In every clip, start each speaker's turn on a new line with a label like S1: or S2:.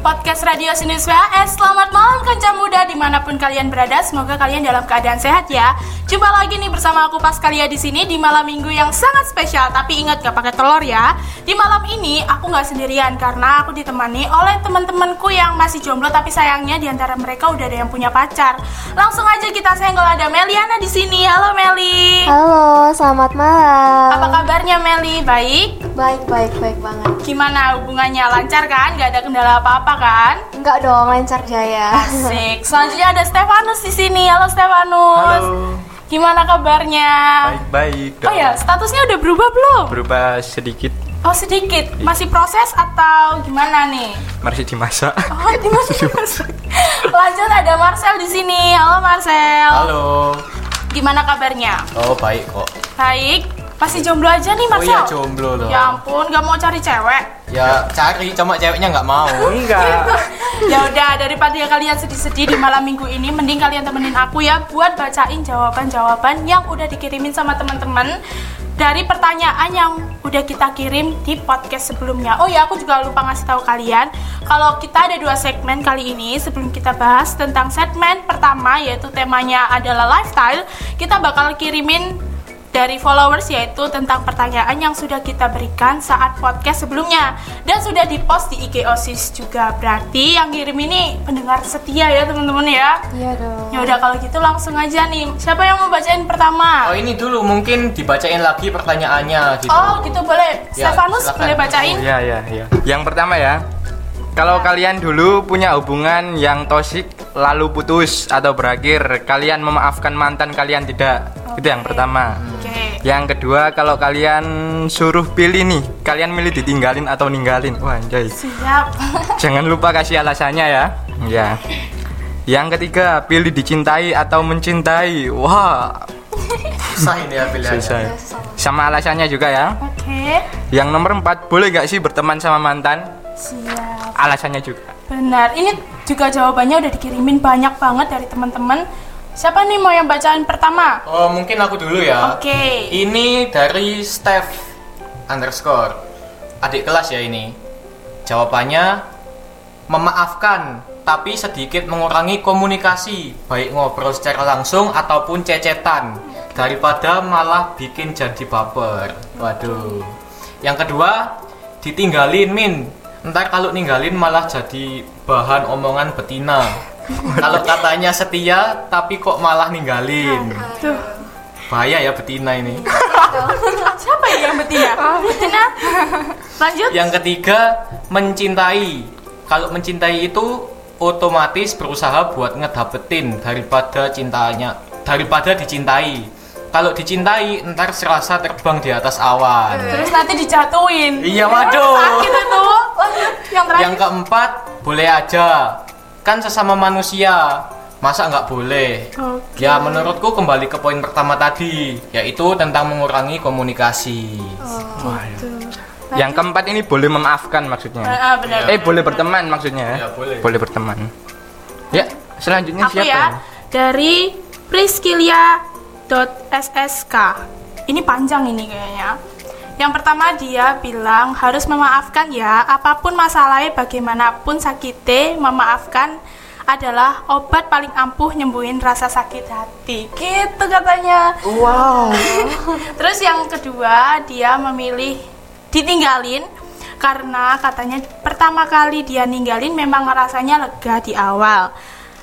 S1: Podcast Radio Sinus WAS Selamat malam kanca muda dimanapun kalian berada Semoga kalian dalam keadaan sehat ya Jumpa lagi nih bersama aku Paskalia di sini Di malam minggu yang sangat spesial Tapi ingat gak pakai telur ya Di malam ini aku gak sendirian Karena aku ditemani oleh teman-temanku yang masih jomblo Tapi sayangnya diantara mereka udah ada yang punya pacar Langsung aja kita senggol ada Meliana di sini Halo Meli
S2: Halo, selamat malam.
S1: Apa kabarnya Meli? Baik?
S2: Baik, baik, baik banget.
S1: Gimana hubungannya? Lancar kan? Gak ada kendala apa-apa kan?
S2: Enggak dong, lancar jaya.
S1: Asik. Selanjutnya ada Stefanus di sini. Halo Stefanus.
S3: Halo,
S1: Gimana kabarnya?
S3: baik-baik.
S1: Oh ya, statusnya udah berubah belum?
S3: Berubah sedikit,
S1: Oh sedikit,
S3: Iya.
S1: masih proses atau gimana nih?
S3: masih dimasak.
S1: Oh, dimasak. dimasak. Lanjut ada Marcel di sini. Halo Marcel.
S3: Halo.
S1: Gimana kabarnya?
S3: Oh, baik kok.
S1: Baik. Masih jomblo aja nih
S3: Oh iya,
S1: Marcel.
S3: jomblo loh.
S1: Ya ampun, gak mau cari cewek.
S3: Ya, cari cuma ceweknya nggak mau.
S4: Enggak.
S1: ya udah daripada kalian sedih-sedih di malam minggu ini mending kalian temenin aku ya buat bacain jawaban-jawaban yang udah dikirimin sama teman-teman dari pertanyaan yang udah kita kirim di podcast sebelumnya. Oh ya, aku juga lupa ngasih tahu kalian kalau kita ada dua segmen kali ini sebelum kita bahas tentang segmen pertama yaitu temanya adalah lifestyle, kita bakal kirimin dari followers yaitu tentang pertanyaan yang sudah kita berikan saat podcast sebelumnya dan sudah dipost di IG OSIS juga berarti yang kirim ini pendengar setia ya teman-teman ya
S2: Iya dong.
S1: ya udah kalau gitu langsung aja nih siapa yang mau bacain pertama
S4: Oh ini dulu mungkin dibacain lagi pertanyaannya gitu.
S1: oh gitu boleh
S4: Ya,
S1: Stefanus
S4: silakan. Iya.
S1: boleh bacain
S3: Ya, ya, ya. Yang pertama ya. Kalau kalian dulu punya hubungan yang toksik lalu putus atau berakhir, kalian memaafkan mantan kalian tidak? Itu yang pertama.
S1: oke
S4: Ya.
S3: Yang kedua, kalau kalian suruh pilih nih, kalian milih ditinggalin atau ninggalin? Wah, anjay.
S1: siap
S3: Jangan lupa kasih alasannya ya. Ya. Yang ketiga, pilih dicintai atau mencintai. Wah,
S4: Susah ini ya pilihannya.
S2: Iya,
S3: selesai. Sama alasannya juga ya.
S1: oke
S3: Yang nomor empat, boleh gak sih berteman sama mantan?
S1: siap
S3: Alasannya juga.
S1: benar ini juga jawabannya udah dikirimin banyak banget dari teman-teman siapa nih mau yang bacain pertama
S4: Oh mungkin aku dulu ya.
S1: oke
S4: Ini dari Steph underscore adik kelas ya ini. Jawabannya memaafkan tapi sedikit mengurangi komunikasi baik ngobrol secara langsung ataupun cecetan daripada malah bikin jadi baper. Waduh. Yang kedua ditinggalin min. Ntar kalau ninggalin malah jadi bahan omongan betina. kalau katanya setia tapi kok malah ninggalin.
S1: tuh
S4: Bahaya ya betina ini.
S1: Siapa ini yang betina? betina. Lanjut.
S4: Yang ketiga, mencintai. Kalau mencintai itu otomatis berusaha buat ngedapetin daripada cintanya, daripada dicintai. Kalau dicintai, ntar serasa terbang di atas awan.
S1: Terus nanti dijatuhin.
S4: Iya,
S1: Aduh,
S4: waduh.
S1: Sakit itu. Lanjut. Yang terakhir.
S4: Yang keempat, boleh aja. Kan sesama manusia, masa nggak boleh?
S1: Oke.
S4: Ya menurutku kembali ke poin pertama tadi, yaitu tentang mengurangi komunikasi.
S3: Yang keempat ini boleh
S1: Ah,
S3: memaafkan maksudnya.
S1: ah, benar.
S3: Eh, boleh berteman maksudnya ya.
S4: Ya, boleh.
S3: berteman. Ya, selanjutnya
S1: Aku
S3: siapa?
S1: ya dari Priskilia.ssk. Ini panjang ini kayaknya. Yang pertama dia bilang harus memaafkan ya apapun masalahnya bagaimanapun sakite memaafkan adalah obat paling ampuh nyembuhin rasa sakit hati gitu katanya
S4: Wow.
S1: Terus yang kedua dia memilih ditinggalin karena katanya pertama kali dia ninggalin memang rasanya lega di awal.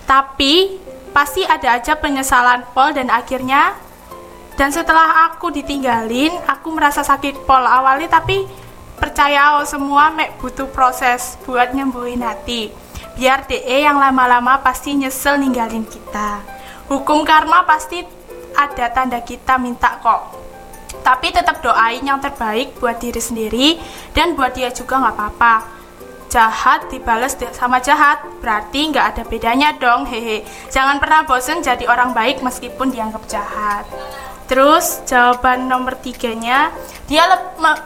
S1: Tapi pasti ada aja penyesalan Paul dan akhirnya dan setelah aku ditinggalin, aku merasa sakit pol awalnya tapi percaya oh, semua mek butuh proses buat nyembuhin hati. Biar DE yang lama-lama pasti nyesel ninggalin kita. Hukum karma pasti ada tanda kita minta kok. Tapi tetap doain yang terbaik buat diri sendiri dan buat dia juga nggak apa-apa. Jahat dibalas de- sama jahat, berarti nggak ada bedanya dong, hehe. Jangan pernah bosen jadi orang baik meskipun dianggap jahat. Terus jawaban nomor tiganya, dia leb- me-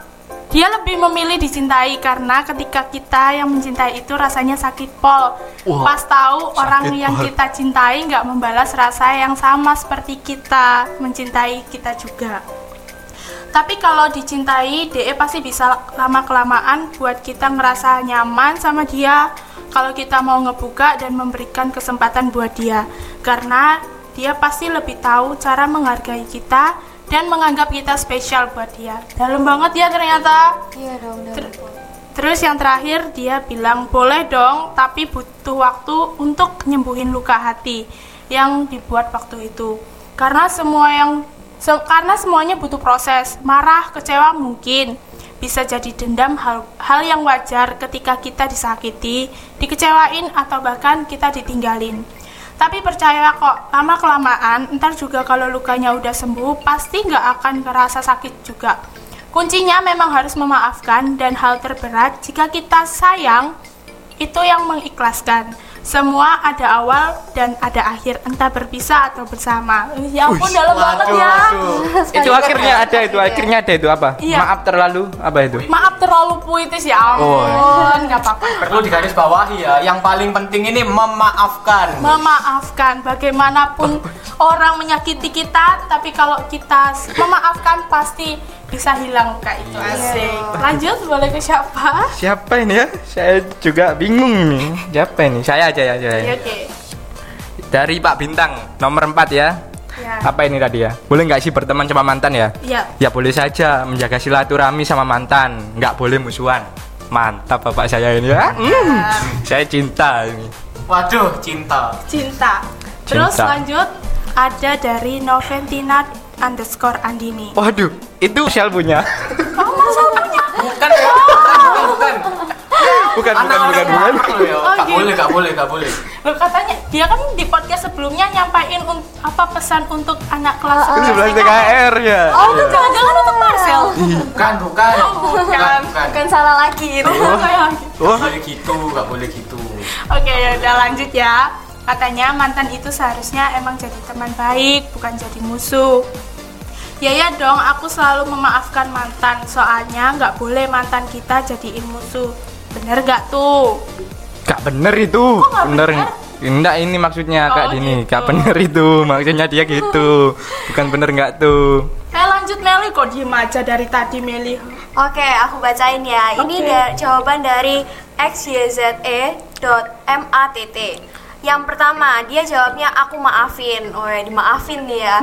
S1: dia lebih memilih dicintai karena ketika kita yang mencintai itu rasanya sakit pol. Pas tahu orang yang kita cintai nggak membalas rasa yang sama seperti kita mencintai kita juga. Tapi kalau E dicintai, DE pasti bisa lama kelamaan buat kita ngerasa nyaman sama dia. kalau kita mau ngebuka dan memberikan kesempatan buat dia karena dia pasti lebih tahu cara menghargai kita dan menganggap kita spesial buat dia dalam banget ya ternyata
S2: Iya dong, dong.
S1: Ter- Terus yang terakhir dia bilang boleh dong, tapi butuh waktu untuk nyembuhin luka hati yang dibuat waktu itu. Karena semua yang se- karena semuanya butuh proses. Marah, kecewa mungkin bisa jadi dendam hal, hal yang wajar ketika kita disakiti, dikecewain atau bahkan kita ditinggalin. Tapi percaya kok, lama kelamaan, ntar juga kalau lukanya udah sembuh, pasti nggak akan kerasa sakit juga. Kuncinya memang harus memaafkan dan hal terberat jika kita sayang itu yang mengikhlaskan. Semua ada awal dan ada akhir, entah berpisah atau bersama. Ya ampun dalam banget
S4: Waduh,
S1: ya.
S4: waduh.
S3: itu akhirnya ada itu akhirnya ada itu apa
S1: Iya.
S3: maaf terlalu apa itu
S1: Maaf terlalu puitis ya
S3: Oh.
S4: iya.
S1: ampun, nggak apa-apa.
S4: Perlu digaris bawahi ya, yang paling penting ini memaafkan.
S1: Memaafkan bagaimanapun orang menyakiti kita, tapi kalau kita memaafkan pasti bisa hilang kayak itu
S4: Iya.
S1: asik. Lanjut boleh ke siapa?
S3: siapa ini ya saya juga bingung nih siapa ini saya aja ya saya
S4: Iya.
S1: Ya, Oke.
S3: dari Pak Bintang nomor 4 ya
S1: Ya.
S3: apa ini tadi ya boleh nggak sih berteman sama mantan ya
S1: Ya.
S3: ya boleh saja menjaga silaturahmi sama mantan nggak boleh musuhan mantap bapak saya ini ya Mm, saya cinta ini
S4: Waduh, cinta.
S1: cinta. Terus
S3: Cinta.
S1: lanjut ada dari Noventina underscore Andini.
S3: waduh itu Shell punya
S1: Oh, masa punya?
S4: Bukan, bukan, bukan, bukan.
S3: bukan bukan bukan
S4: Anak-anak
S3: bukan
S4: anak loh ya.
S1: Oh,
S4: Gak
S1: gitu.
S4: boleh, gak boleh, gak boleh.
S1: Loh, katanya dia kan di podcast sebelumnya nyampain un- apa pesan untuk anak kelas
S3: itu
S1: 11
S3: sebelah
S1: TKR.
S3: TKR ya
S1: Oh, itu jangan-jangan untuk Marcel.
S4: Bukan, bukan.
S1: Oh, bukan.
S2: Bukan salah lagi itu.
S1: Kayak lagi.
S4: Gak
S3: Wah,
S4: boleh gitu, gak boleh gitu.
S1: Oke, ya udah lanjut ya. Katanya mantan itu seharusnya emang jadi teman baik, bukan jadi musuh. Ya ya dong, aku selalu memaafkan mantan. Soalnya nggak boleh mantan kita jadiin musuh. Bener gak tuh?
S3: gak bener itu
S1: nggak
S3: bener
S1: bener?
S3: enggak ini maksudnya
S1: Oh,
S3: kak Dini
S1: gitu.
S3: gak bener itu maksudnya dia gitu bukan bener nggak tuh
S1: Eh lanjut Meli kok diem aja dari tadi Meli
S2: Oke, aku bacain ya. Ini
S1: Oke.
S2: da- jawaban dari E xyze.matt. Yang pertama, dia jawabnya aku maafin. Oh, dimaafin dia.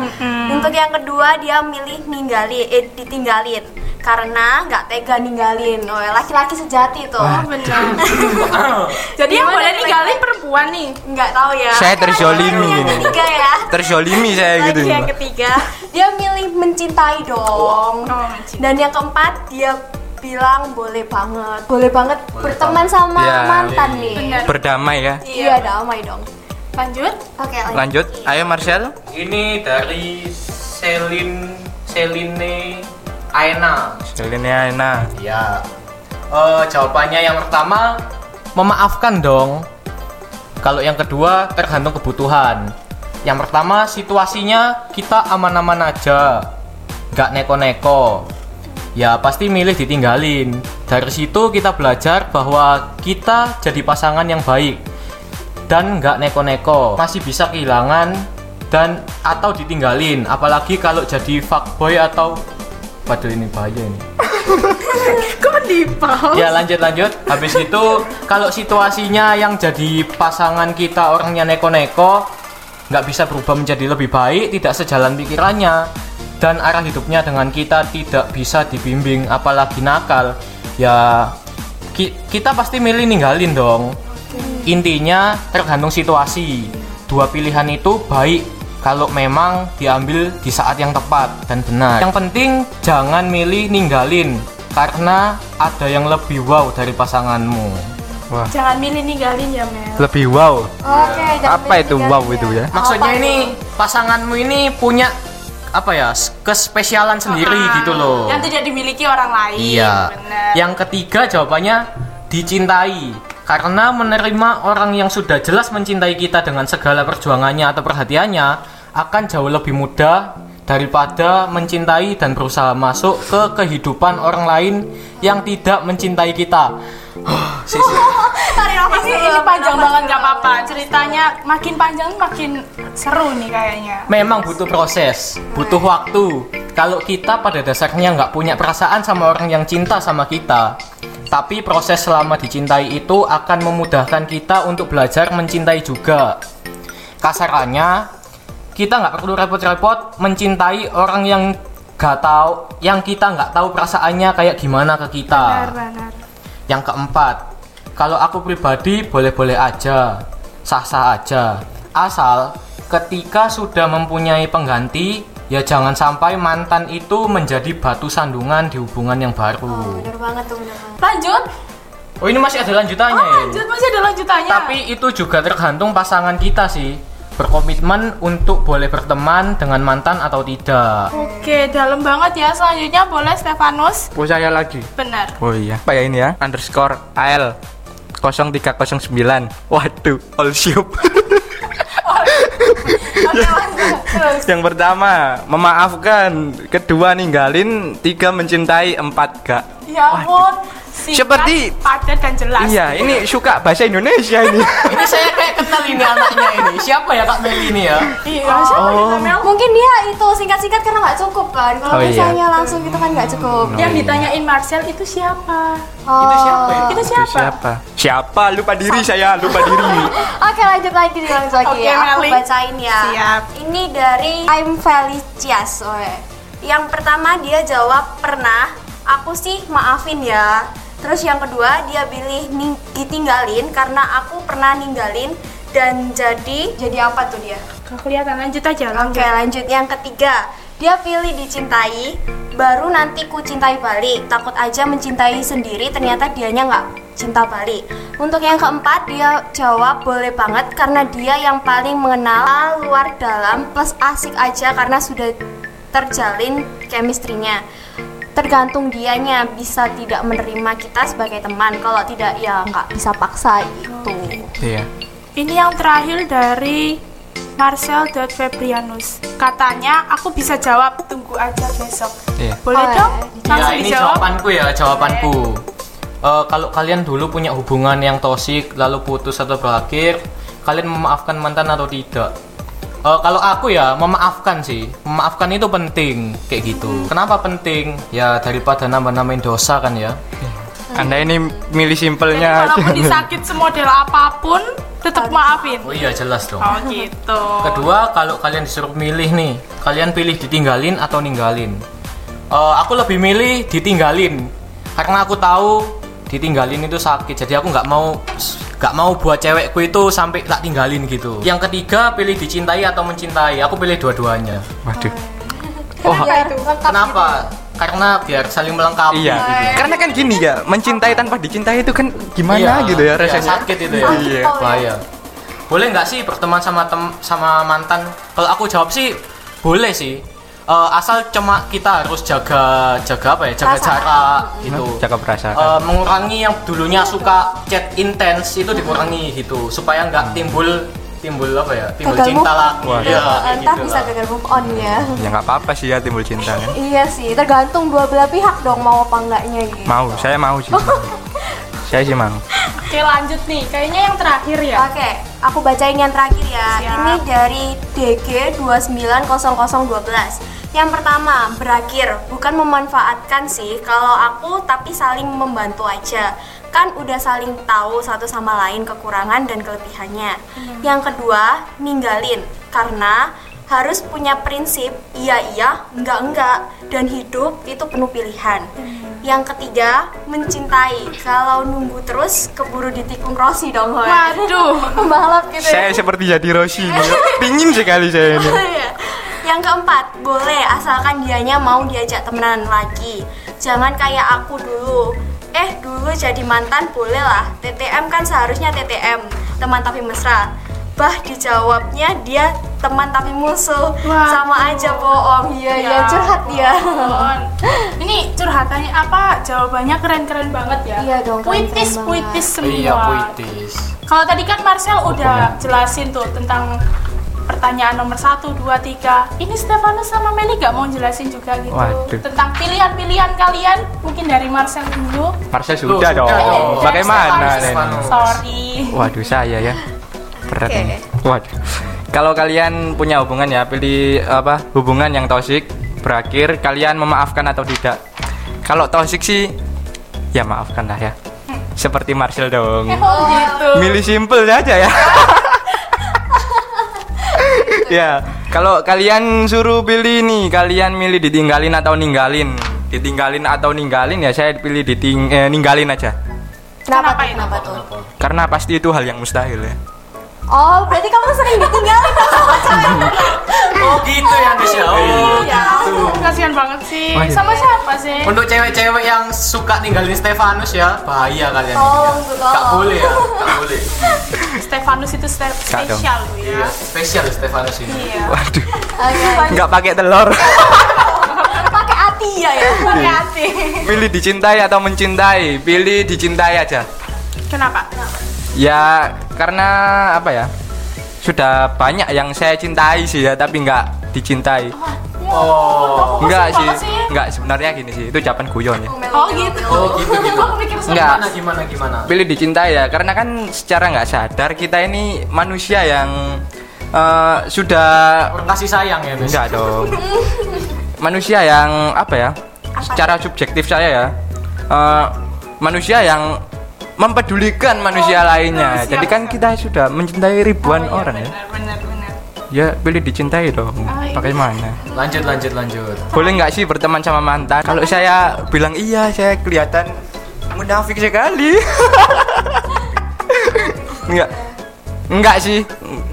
S2: Untuk yang kedua, dia milih ninggali eh, ditinggalin karena nggak tega ninggalin. Oh, laki-laki sejati tuh.
S1: Oh benar Jadi yang
S2: Gimana
S1: boleh
S2: nih,
S1: ninggalin perempuan nih
S2: Nggak tahu ya.
S3: saya terzolimi
S2: Yang
S3: ini
S2: ketiga ya.
S3: terzolimi saya
S2: Lagi
S3: gitu
S2: yang ketiga, dia milih mencintai dong.
S1: Oh, mencintai.
S2: Dan yang keempat, dia bilang boleh banget. Boleh banget berteman sama
S3: Iya.
S2: mantan nih.
S1: Benar
S3: berdamai ya
S2: Iya, damai dong.
S1: Lanjut
S2: Oke, lanjut.
S3: lanjut ayo Marcel
S4: Ini dari Selin Seline Aena.
S3: Selenia enak
S4: Ya. Eh, jawabannya yang pertama memaafkan dong. Kalau yang kedua tergantung kebutuhan. Yang pertama situasinya kita aman-aman aja, nggak neko-neko. Ya pasti milih ditinggalin. Dari situ kita belajar bahwa kita jadi pasangan yang baik dan nggak neko-neko. Masih bisa kehilangan dan atau ditinggalin. Apalagi kalau jadi fuckboy atau Waduh ini bahaya ini
S1: Kok dipau?
S4: ya lanjut lanjut habis itu kalau situasinya yang jadi pasangan kita orangnya neko-neko nggak bisa berubah menjadi lebih baik tidak sejalan pikirannya dan arah hidupnya dengan kita tidak bisa dibimbing apalagi nakal ya ki- kita pasti milih ninggalin dong intinya tergantung situasi dua pilihan itu baik kalau memang diambil di saat yang tepat dan benar yang penting jangan milih ninggalin karena ada yang lebih wow dari pasanganmu
S3: wah
S1: Jangan milih ninggalin ya Mel
S3: lebih wow
S2: Oke, jangan
S3: apa itu
S2: ditinggalin
S3: wow itu ya
S4: maksudnya
S2: Apa
S4: ini pasanganmu ini punya apa ya s- kespesialan sendiri
S1: Ah,
S4: gitu loh
S1: Yang tidak dimiliki orang lain
S4: Iya.
S1: Benar
S4: Yang ketiga jawabannya dicintai. Karena menerima orang yang sudah jelas mencintai kita dengan segala perjuangannya atau perhatiannya akan jauh lebih mudah daripada mencintai dan berusaha masuk ke kehidupan orang lain yang tidak mencintai kita. Sisi.
S2: Tarik nafas
S1: ini, ini
S2: dulu,
S1: panjang
S2: nafas
S1: banget gak
S2: dulu.
S1: apa-apa
S4: Iya.
S1: Ceritanya makin panjang makin seru nih kayaknya
S4: Memang butuh proses, butuh waktu. Kalau kita pada dasarnya nggak punya perasaan sama orang yang cinta sama kita, Tapi proses selama dicintai itu akan memudahkan kita untuk belajar mencintai juga. Kasarannya, kita nggak perlu repot-repot mencintai orang yang gak tahu, yang kita nggak tahu perasaannya kayak gimana ke kita.
S1: benar benar
S4: Yang keempat, kalau aku pribadi boleh-boleh aja, sah-sah aja. Asal ketika sudah mempunyai pengganti, ya jangan sampai mantan itu menjadi batu sandungan di hubungan yang
S2: Oh,
S4: baru.
S2: bener banget tuh, bener banget.
S1: lanjut
S4: Oh ini masih ada lanjutannya
S1: oh
S4: ya?
S1: lanjut iya. masih ada lanjutannya
S4: Tapi itu juga tergantung pasangan kita sih. Berkomitmen untuk boleh berteman dengan mantan atau tidak.
S1: oke dalam banget ya selanjutnya boleh Stefanus
S3: Oh saya lagi.
S1: benar
S3: Oh iya. Apa ya ini ya? Underscore AL 0309. Waduh, all ship.
S1: oke lanjut
S3: Yang pertama, memaafkan. Kedua, ninggalin. Tiga, mencintai. Empat, gak.
S1: ya ampun Singkat,
S3: Seperti-
S1: padat dan jelas
S3: Iya, ini suka bahasa Indonesia ini.
S4: Ini saya kayak kenal ini anaknya ini. Siapa ya Kak Meli ini ya?
S1: iya
S2: Oh.
S3: Oh.
S1: siapa kita, Mel?
S2: Mungkin dia itu singkat-singkat karena nggak cukup kan. Kalau
S3: Oh, iya.
S2: misalnya langsung itu kan nggak cukup.
S1: yang ditanyain Marcel itu siapa
S2: Oh.
S4: Itu siapa ya?
S1: itu
S3: Itu
S1: siapa
S3: Siapa? Lupa diri saya, lupa diri.
S2: Oke lanjut lagi nih, lanjut lagi
S1: Oke,
S2: ya. Aku
S1: Meli.
S2: bacain ya.
S1: Siap.
S2: Ini dari I'm Felicias. oe. Yang pertama dia jawab pernah. Aku sih maafin ya. Terus yang kedua dia pilih ning- ditinggalin karena aku pernah ninggalin dan jadi jadi apa tuh dia?
S1: Gak kelihatan lanjut aja
S2: Oke
S1: lanjut
S2: lanjut yang ketiga dia pilih dicintai baru nanti ku cintai balik takut aja mencintai sendiri ternyata dianya nggak cinta balik untuk yang keempat dia jawab boleh banget karena dia yang paling mengenal luar dalam plus asik aja karena sudah terjalin chemistry-nya tergantung dianya bisa tidak menerima kita sebagai teman kalau tidak ya nggak bisa paksa gitu." itu
S3: Iya.
S1: Ini yang terakhir dari Marcel.Febrianus Katanya aku bisa jawab tunggu aja besok
S3: Iya.
S1: Boleh
S2: Oh,
S1: dong?
S4: Ya
S1: Langsung
S4: ini
S1: dijawab
S4: jawabanku ya jawabanku. Eh, kalau kalian dulu punya hubungan yang toksik lalu putus atau berakhir, kalian memaafkan mantan atau tidak? Eh, kalau aku ya memaafkan sih, memaafkan itu penting kayak gitu. Kenapa penting? Ya daripada nambah-nambahin dosa kan ya.
S3: Anda ini milih
S1: Jadi
S3: simpelnya. aja.
S1: walaupun disakit semodel apapun Tetap maafin
S4: Oh iya jelas dong.
S1: Oh gitu
S4: Kedua, kalau kalian disuruh milih nih, kalian pilih ditinggalin atau ninggalin? Eh, aku lebih milih ditinggalin, karena aku tahu ditinggalin itu sakit. Jadi aku nggak mau nggak mau buat cewekku itu sampai tak tinggalin gitu. Yang ketiga, pilih dicintai atau mencintai. Aku pilih dua-duanya.
S3: Waduh.
S4: Kenapa? Karena biar saling melengkapi.
S3: gitu. Iya. Karena kan gini ya, mencintai tanpa dicintai itu kan gimana
S4: Iya,
S3: gitu ya
S4: iya,
S3: rasanya.
S4: sakit itu ya.
S3: Iya.
S4: Bahaya. Boleh nggak sih berteman sama tem sama mantan? Kalau aku jawab sih boleh sih. Eh, asal cuma kita harus jaga jaga apa ya? Jaga
S2: Perasaan.
S4: jarak gitu.
S3: Jaga perasaan.
S4: Eh, mengurangi yang dulunya suka chat intens itu dikurangi gitu supaya nggak timbul timbul apa ya? Timbul
S2: Gagal
S4: cinta
S2: move
S4: lagi.
S3: on.
S4: Iya, kayak
S2: entar
S4: gitu
S2: bisa
S4: lah.
S2: gagal move on ya
S3: Ya nggak apa-apa sih ya timbul cinta kan.
S2: Iya sih, tergantung dua belah pihak dong mau apa enggaknya gitu.
S3: Mau, saya mau sih. saya sih mau.
S1: Oke lanjut nih Kayaknya yang terakhir ya
S2: Oke, aku bacain yang terakhir ya.
S1: Siap.
S2: Ini dari DG 290012. Yang pertama, berakhir bukan memanfaatkan sih kalau aku tapi saling membantu aja. Kan udah saling tahu satu sama lain kekurangan dan kelebihannya. Yang kedua, ninggalin karena harus punya prinsip iya iya enggak enggak dan hidup itu penuh pilihan. Yang ketiga, mencintai. Kalau nunggu terus keburu ditikung Rossi dong, Hoy.
S1: Waduh
S2: Pembalap gitu ya.
S3: Saya seperti jadi Rossi ini. Pingin sekali saya ini.
S2: Iya. Yang keempat, boleh asalkan dianya mau diajak temenan lagi. Jangan kayak aku dulu. Eh, dulu jadi mantan boleh lah. TTM kan seharusnya TTM, teman tapi mesra. Bah dijawabnya dia teman tapi musuh.
S1: Waduh. Ya.
S2: Sama aja bohong. Iya, iya curhat dia.
S1: ampun. Ini curhatannya apa? Jawabannya keren-keren banget ya.
S2: Iya dong, keren-keren
S1: Puitis,
S2: banget.
S1: puitis semua.
S4: Iya, puitis.
S1: Kalau tadi kan Marcel udah jelasin tuh tentang pertanyaan nomor 1, 2, 3 Ini Stefanus sama Meli gak mau jelasin juga gitu
S3: Waduh.
S1: Tentang pilihan-pilihan kalian Mungkin dari Marcel dulu Eh,
S3: Marcel
S4: Loh,
S3: sudah dong.
S4: dong.
S3: Bagaimana
S4: Stefanus,
S3: ini?
S4: Stefanus.
S1: Sorry
S3: Waduh saya ya berat
S2: Oke.
S3: ini. Waduh. Kalau kalian punya hubungan ya pilih apa hubungan yang toksik berakhir kalian memaafkan atau tidak. Kalau toksik sih ya maafkanlah ya seperti Marcel dong
S1: Oh, gitu.
S3: milih simple aja ya ya kalau kalian suruh pilih nih kalian milih ditinggalin atau ninggalin ditinggalin atau ninggalin ya saya pilih diting eh, ninggalin aja
S1: Kenapa
S2: tuh,
S1: itu?
S2: Kenapa tuh?
S3: karena pasti itu hal yang mustahil ya
S2: Oh, berarti kamu sering ditinggalin dong sama cewek. Iya.
S4: Oh gitu ya Nis ya. Oh.
S1: Ya, kasihan banget sih.
S3: Wah, iya.
S1: Sama siapa sih?
S4: Untuk cewek-cewek yang suka ninggalin Stefanus ya, bahaya kalian.
S2: Tolong,
S4: ini, ya.
S2: tolong.
S4: Gak boleh ya, gak boleh.
S1: Stefanus itu ste-
S3: Kak dong.
S1: spesial loh
S4: Iya,
S1: ya.
S4: spesial Stefanus ini.
S1: Iya.
S3: waduh
S2: Oke.
S3: nggak pakai telur
S2: Pakai hati ya ya.
S3: Iya.
S1: Pakai hati.
S3: pilih dicintai atau mencintai pilih dicintai aja
S1: Kenapa?
S3: Ya karena apa ya? Sudah banyak yang saya cintai sih ya, tapi nggak dicintai.
S4: Oh.
S3: Enggak sih,
S1: banget sih.
S3: nggak sebenarnya gini sih. Itu jawaban guyon ya.
S1: Oh gitu.
S4: Oh gitu gitu.
S1: Aku mikir sama.
S3: Enggak.
S4: Gimana gimana gimana.
S3: Pilih dicintai ya, karena kan secara nggak sadar kita ini manusia yang eh, sudah
S4: Orang kasih sayang ya Nis.
S3: enggak dong. manusia yang apa ya? Secara subjektif saya ya. eh, manusia yang mempedulikan manusia lainnya.
S1: siap,
S3: Jadi kan
S1: siap.
S3: kita sudah mencintai ribuan orang ya.
S1: Benar, benar, benar.
S3: Ya pilih dicintai dong.
S1: iya.
S3: Bagaimana?
S4: Lanjut lanjut lanjut.
S3: Boleh nggak sih berteman sama mantan? Kalau saya bilang iya, saya kelihatan munafik sekali. Enggak. Enggak sih.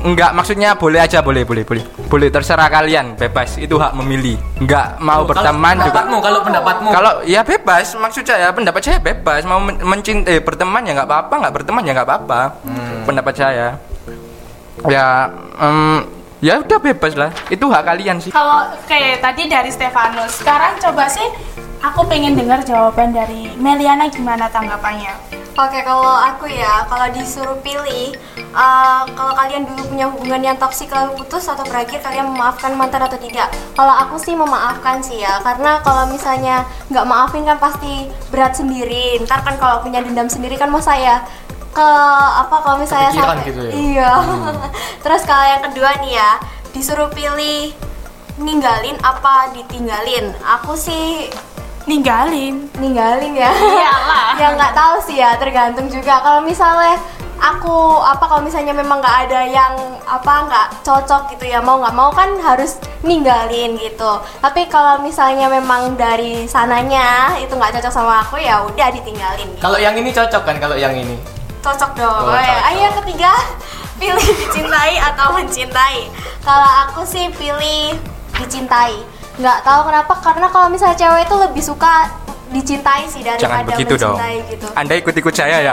S3: Enggak, maksudnya boleh aja, boleh, boleh, boleh. Boleh terserah kalian, bebas. Itu hak memilih. Enggak mau
S4: Kalau
S3: berteman juga.
S4: pendapatmu, kalau pendapatmu.
S3: Kalau ya bebas, maksud saya pendapat saya bebas. Mau men- mencintai berteman ya nggak apa-apa, nggak berteman ya nggak apa-apa.
S4: Hmm.
S3: Pendapat saya. Ya, em, ya udah bebas lah. Itu hak kalian sih.
S1: Kalau kayak tadi dari Stefanus, sekarang coba sih aku pengen dengar jawaban dari Meliana gimana tanggapannya?
S2: Oke, kalau aku ya, kalau disuruh pilih, eh, kalau kalian dulu punya hubungan yang toksik lalu putus atau berakhir, kalian memaafkan mantan atau tidak? Kalau aku sih memaafkan sih ya, karena kalau misalnya nggak maafin kan pasti berat sendiri. Ntar kan kalau punya dendam sendiri kan mau saya ke apa kalau misalnya
S4: Kepikiran gitu ya?
S2: iya. Terus kalau yang kedua nih ya, disuruh pilih ninggalin apa ditinggalin? Aku sih
S1: Ninggalin.
S2: ninggalin ya
S1: Iyalah.
S2: ya nggak tahu sih ya tergantung juga kalau misalnya aku apa kalau misalnya memang nggak ada yang apa nggak cocok gitu ya mau nggak mau kan harus ninggalin gitu tapi kalau misalnya memang dari sananya itu nggak cocok sama aku ya udah ditinggalin gitu.
S4: Kalau yang ini cocok kan kalau yang ini.
S2: cocok dong
S4: Oh,
S2: ya
S4: cocok.
S2: ayo yang ketiga pilih dicintai atau mencintai kalau aku sih pilih dicintai nggak tahu kenapa karena kalau misalnya cewek itu lebih suka dicintai sih
S3: Jangan
S2: daripada
S3: begitu dong.
S2: mencintai gitu
S3: Anda ikut-ikut saya ya.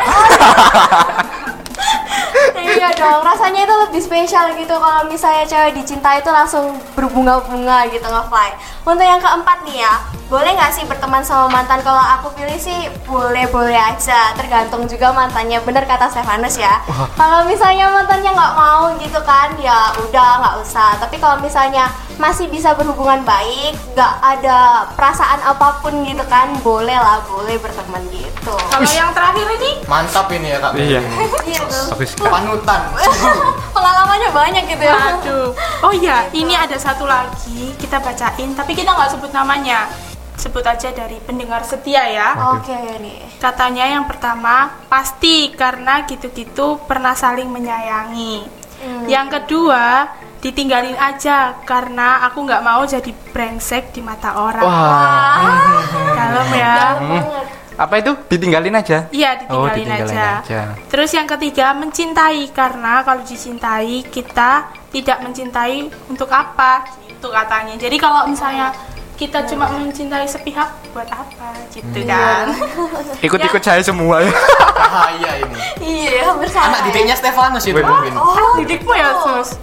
S2: iya dong rasanya itu lebih spesial gitu kalau misalnya cewek dicintai itu langsung berbunga-bunga gitu ngefly untuk yang keempat nih ya boleh nggak sih berteman sama mantan kalau aku pilih sih boleh-boleh aja tergantung juga mantannya bener kata Stefanus ya kalau misalnya mantannya nggak mau gitu kan ya udah nggak usah tapi kalau misalnya masih bisa berhubungan baik nggak ada perasaan apapun gitu kan boleh lah boleh berteman gitu
S1: Kalau yang terakhir ini
S4: Mantap ini ya Kak.
S3: Iya.
S2: gitu
S3: Bagus sekali.
S4: Panutan.
S2: pengalamannya banyak gitu ya
S1: Aduh. Oh iya, ini ada satu lagi kita bacain, tapi kita nggak sebut namanya. Sebut aja dari pendengar setia ya.
S2: Oke nih.
S1: Katanya yang pertama pasti karena gitu-gitu pernah saling menyayangi.
S3: Hmm.
S1: Yang kedua ditinggalin aja karena aku nggak mau jadi brengsek di mata orang.
S3: Wah.
S1: Dalam ya.
S3: Apa itu? Ditinggalin aja.
S1: Iya ditinggalin,
S3: Oh, ditinggalin
S1: aja.
S3: aja.
S1: Terus yang ketiga mencintai karena kalau dicintai kita tidak mencintai untuk apa gitu katanya. Jadi kalau misalnya kita cuma mencintai sepihak buat apa gitu kan?
S3: Iya. Ikut-ikut saya semua ya.
S4: Bahaya ini.
S2: Iya, bersama.
S4: Anak didiknya Stefanus itu mungkin.
S1: Oh, didikmu ya, Sus.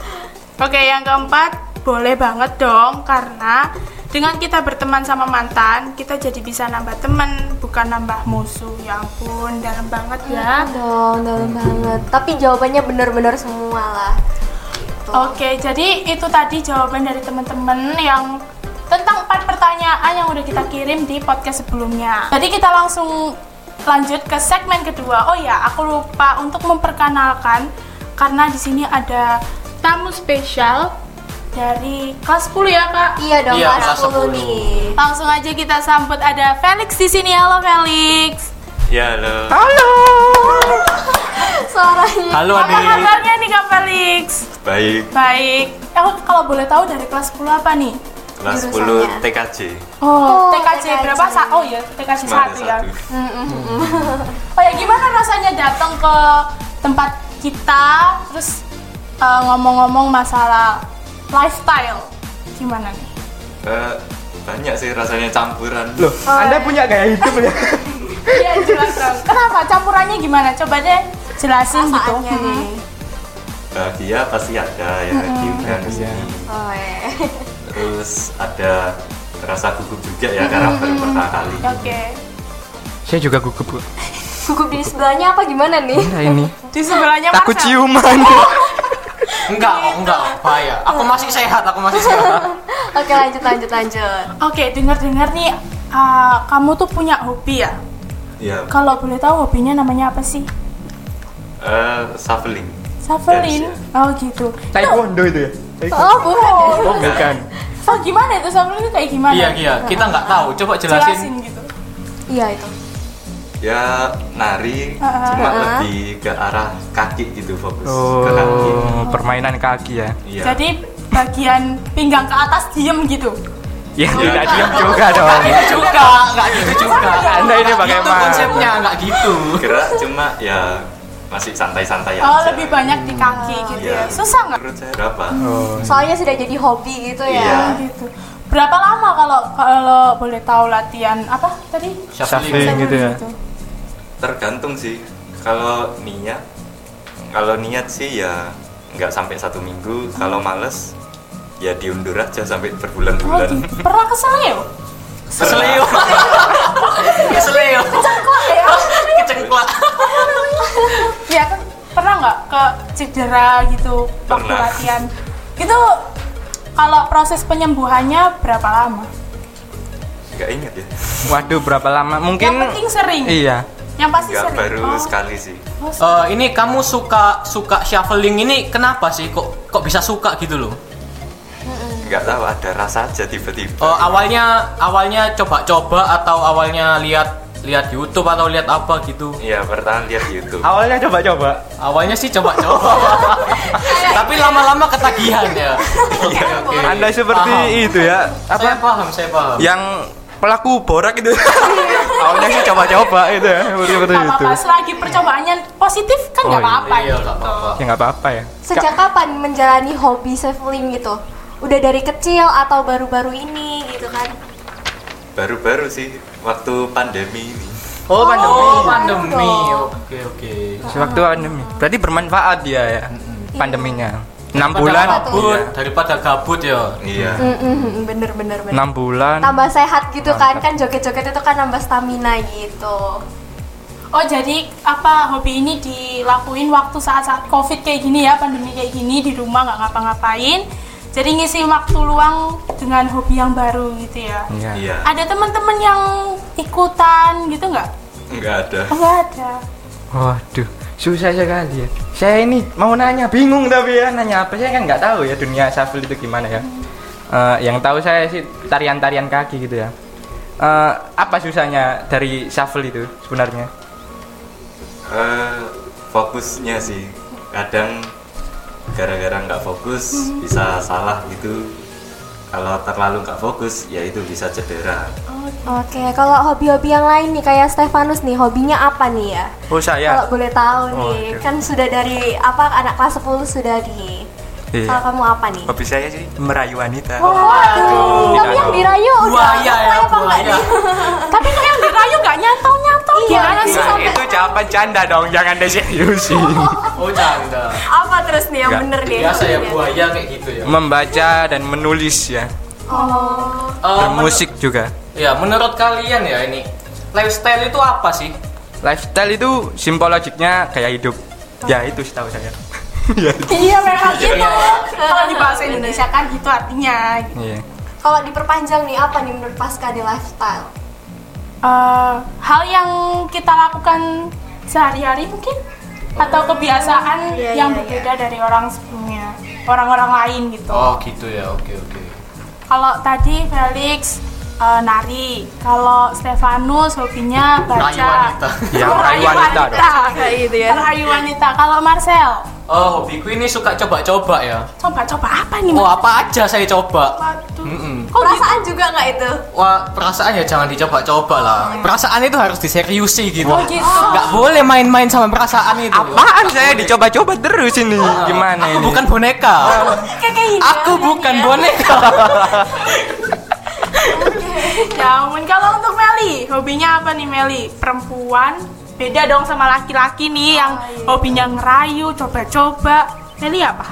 S1: Oke, yang keempat, boleh banget dong karena dengan kita berteman sama mantan, kita jadi bisa nambah teman, bukan nambah musuh. Ya ampun, dalam banget ya.
S2: Iya Dong, dalam banget. Tapi jawabannya bener-bener semua lah.
S1: Oke, jadi itu tadi jawaban dari teman-teman yang tentang empat pertanyaan yang udah kita kirim di podcast sebelumnya. Jadi kita langsung lanjut ke segmen kedua. Oh ya, aku lupa untuk memperkenalkan karena di sini ada tamu spesial dari kelas 10 ya, Kak.
S2: Iya dong,
S4: Iya,
S2: kelas
S4: kelas
S2: 10
S4: 10.
S2: nih.
S1: Langsung aja kita sambut ada Felix di sini. Halo Felix.
S5: Ya halo.
S3: Halo.
S2: Suaranya.
S5: Halo
S1: Apa
S5: Adi.
S1: kabarnya nih Kak Felix?
S5: Baik.
S1: Baik. Aku kalau boleh tahu dari kelas 10 apa nih?
S5: Kelas
S2: Jurusannya.
S5: 10 TKJ.
S1: Oh,
S2: Oh,
S1: TKJ,
S2: TKJ.
S1: berapa? Sa oh iya, TKJ
S5: Cuma ada
S1: 1 ya.
S5: satu.
S1: Oh ya gimana rasanya datang ke tempat kita terus eh, ngomong-ngomong masalah lifestyle. Gimana nih?
S5: Eh, banyak sih rasanya campuran.
S3: Loh, Anda punya gaya hidup ya?
S1: Iya, jelas dong. Kenapa campurannya gimana? Coba deh jelasin gitu.
S2: Perasaannya nih.
S5: Bahagia pasti ada ya diundang ke sini.
S2: Oh, eh.
S5: Terus ada rasa gugup juga ya karena baru pertama kali.
S1: Oke.
S3: Saya juga gugup. Bu.
S2: Gugup di sebelahnya apa gimana nih?
S3: Nah, ini
S1: Di sebelahnya
S3: takut
S1: Marcel.
S3: ciuman.
S4: Enggak, kok, enggak, bahaya. Aku masih sehat, aku masih sehat.
S2: Oke lanjut lanjut lanjut.
S1: Oke, dengar-dengar nih eh, kamu tuh punya hobi ya?
S5: Iya.
S1: Kalau boleh tahu hobinya namanya apa sih?
S5: Eh, shuffling.
S1: Savelin.
S5: Dance,
S1: Oh gitu.
S3: Taekwondo itu ya? Taekwondo.
S2: Oh bukan.
S3: Oh, bukan.
S1: So gimana itu Savelin itu kayak gimana?
S4: Iya, iya, kita nggak tahu. Coba
S1: Jelasin
S4: jelasin.
S1: gitu.
S2: Iya itu.
S5: Ya nari
S1: Ah,
S5: cuma
S2: ah.
S5: lebih ke arah kaki gitu fokus ke kaki.
S3: Oh, permainan kaki ya.
S5: Iya.
S1: Jadi bagian pinggang ke atas diem gitu.
S3: Ya,
S5: Iya.
S3: tidak diam juga dong.
S4: Nggak gitu juga, nggak gitu juga.
S3: Anda ini
S4: Nggak gitu
S3: bagaimana?
S4: konsepnya, nggak gitu.
S5: gerak cuma ya masih santai-santai
S1: Oh
S5: aja.
S1: lebih banyak di kaki gitu
S5: Iya.
S1: ya. Susah nggak?
S5: Menurut saya berapa?
S3: Oh.
S2: Soalnya sudah jadi hobi gitu ya.
S5: Iya.
S1: Gitu. Berapa lama kalau kalau boleh tahu latihan apa tadi?
S3: Shuffling gitu ya.
S1: Gitu.
S5: Tergantung sih. Kalau niat, kalau niat sih ya nggak sampai satu minggu. Kalau males ya diundur aja
S1: Oh,
S5: sampai berbulan-bulan.
S1: gitu. Pernah kesel ya?
S4: Seleo. Seleo. Kecengklak.
S1: ya. Iya kan pernah nggak ke cedera gitu waktu
S5: Pernah.
S1: latihan? Gitu kalau proses penyembuhannya berapa lama?
S5: Nggak ingat ya.
S3: Waduh, berapa lama? Mungkin
S1: Yang penting sering.
S3: Iya.
S1: Yang pasti
S5: Nggak
S1: sering.
S5: baru
S1: Oh.
S5: sekali sih.
S1: Oh, se-
S4: Eh, ini kamu suka suka shuffling ini kenapa sih kok kok bisa suka gitu loh?
S5: Nggak tahu ada rasa aja tiba-tiba.
S4: Eh, awalnya awalnya coba-coba atau awalnya lihat lihat YouTube atau lihat apa gitu?
S5: Iya pertama lihat YouTube.
S3: Awalnya coba-coba.
S4: Awalnya sih coba-coba. Tapi lama-lama ketagihan ya.
S1: Kan
S4: Oke, oke.
S3: Anda seperti
S4: Paham.
S3: itu ya. Apa? Ya.
S4: Saya paham, saya paham.
S3: Yang pelaku borak itu. Awalnya sih coba-coba gitu ya. Seperti seperti
S1: Iya. nggak
S3: itu.
S1: apa-apa. Selagi percobaannya positif kan nggak
S3: Oh, iya.
S1: apa-apa
S4: Iya,
S1: gitu.
S4: nggak apa-apa.
S3: Ya nggak apa-apa ya.
S2: Sejak kapan menjalani hobi traveling gitu? Udah dari kecil atau baru-baru ini gitu kan?
S5: Baru-baru sih waktu pandemi ini.
S4: Oh, pandemi.
S2: Oh,
S4: pandemi.
S2: aduh.
S4: Oke, oke.
S3: Sewaktu pandemi. Berarti bermanfaat dia
S2: Iya.
S3: ya. Pandeminya. 6 bulan.
S4: Daripada gabut, daripada gabut ya.
S5: Iya.
S2: Hmm. Mm-mm, bener bener bener.
S3: 6 bulan.
S2: Tambah sehat gitu kan? Kan joget-joget itu kan nambah stamina gitu.
S1: Oh jadi apa hobi ini dilakuin waktu saat-saat covid kayak gini ya pandemi kayak gini di rumah nggak ngapa-ngapain. Jadi ngisi waktu luang dengan hobi yang baru gitu ya.
S3: Iya.
S5: Iya.
S1: Ada teman-teman yang ikutan gitu nggak?
S5: Nggak ada.
S1: Oh, nggak ada.
S3: Waduh, susah sekali ya. Saya ini mau nanya, bingung tapi ya nanya apa saya kan nggak tahu ya dunia shuffle itu gimana ya. Eh, yang tahu saya sih tarian-tarian kaki gitu ya. Eh, apa susahnya dari shuffle itu sebenarnya?
S5: Eh, fokusnya sih kadang gara-gara nggak fokus bisa salah gitu kalau terlalu nggak fokus ya itu bisa cedera
S2: Oke, kalau hobi-hobi yang lain nih kayak Stefanus nih, hobinya apa nih ya?
S3: Oh
S2: Kalau
S3: saya,
S2: boleh tahu
S3: Oh,
S2: nih,
S3: oke.
S2: kan sudah dari apa anak kelas 10 sudah di.
S3: Iya.
S2: Kalau kamu apa nih?
S3: hobi saya sih merayu wanita.
S2: Oh, Waduh, kamu yang dirayu udah
S4: Buaya ya,
S2: apa enggak
S4: buaya.
S2: nih?
S1: Tapi kok yang dirayu nggak nyantol nyantol
S2: Iya,
S1: gimana sih
S2: iya.
S1: sampai
S3: Nah, itu jawaban canda dong, jangan diseriusin.
S4: Oh, canda.
S2: Apa terus nih yang
S3: Nggak.
S2: bener nih?
S4: Biasa ya
S2: hobinya?
S4: buaya kayak gitu ya.
S3: Membaca dan menulis ya,
S2: Oh.
S4: Eh,
S3: dan musik juga.
S4: menur- ya, menurut kalian ya ini lifestyle itu apa sih?
S3: Lifestyle itu simbologiknya kayak hidup. Ya itu setahu saya. Ya, itu.
S1: Iya memang gitu.
S4: Iya.
S1: Kalau di bahasa Indonesia kan gitu artinya.
S3: Iya.
S2: Kalau diperpanjang nih apa nih menurut pasca di lifestyle?
S1: Eh, hal yang kita lakukan sehari-hari mungkin atau kebiasaan
S2: Iya,
S1: yang
S2: iya,
S1: berbeda dari orang sebelumnya orang-orang lain gitu
S4: Oh, gitu ya. Oke, oke.
S1: kalau tadi Felix eh, nari. Kalau Stefanus hobinya baca.
S4: Rayu wanita.
S3: Ya,
S1: Oh,
S3: rayu
S1: rayu
S3: wanita dong.
S1: wanita.
S2: Kayak gitu ya.
S1: Rayu wanita. Kalau Marcel,
S4: Oh, hobiku ini suka coba-coba ya.
S1: coba-coba apa nih?
S4: Oh,
S1: Marcel?
S4: apa aja saya coba.
S1: Waduh.
S4: Mm-mm.
S1: Kok bisa?
S2: Perasaan juga nggak itu?
S4: Wah, perasaan ya jangan dicoba-coba lah. Perasaan itu harus diseriusi Hmm. gitu.
S1: Oh, gitu.
S4: Nggak boleh main-main sama perasaan itu. ya.
S3: Apaan saya dicoba-coba terus ini? Gimana
S4: Aku
S3: ini?
S4: bukan boneka.
S1: Kayak kayak gini
S4: Aku
S1: ya,
S4: bukan
S1: ini ya.
S4: boneka.
S1: Ya ampun, kalau untuk Meli, hobinya apa nih Meli? Perempuan, beda dong sama laki-laki nih yang hobinya ngerayu, coba-coba. Meli apa?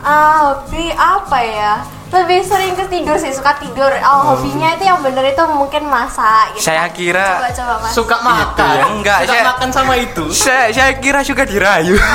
S2: Ah, hobi apa ya? Lebih sering ke tidur sih, suka tidur. Oh, hobinya itu yang bener itu mungkin masak gitu.
S3: Saya kira
S2: Coba-coba masak.
S4: Suka makan.
S3: ya, enggak,
S4: Suka
S3: saya-
S4: makan sama itu.
S3: saya, saya kira suka dirayu.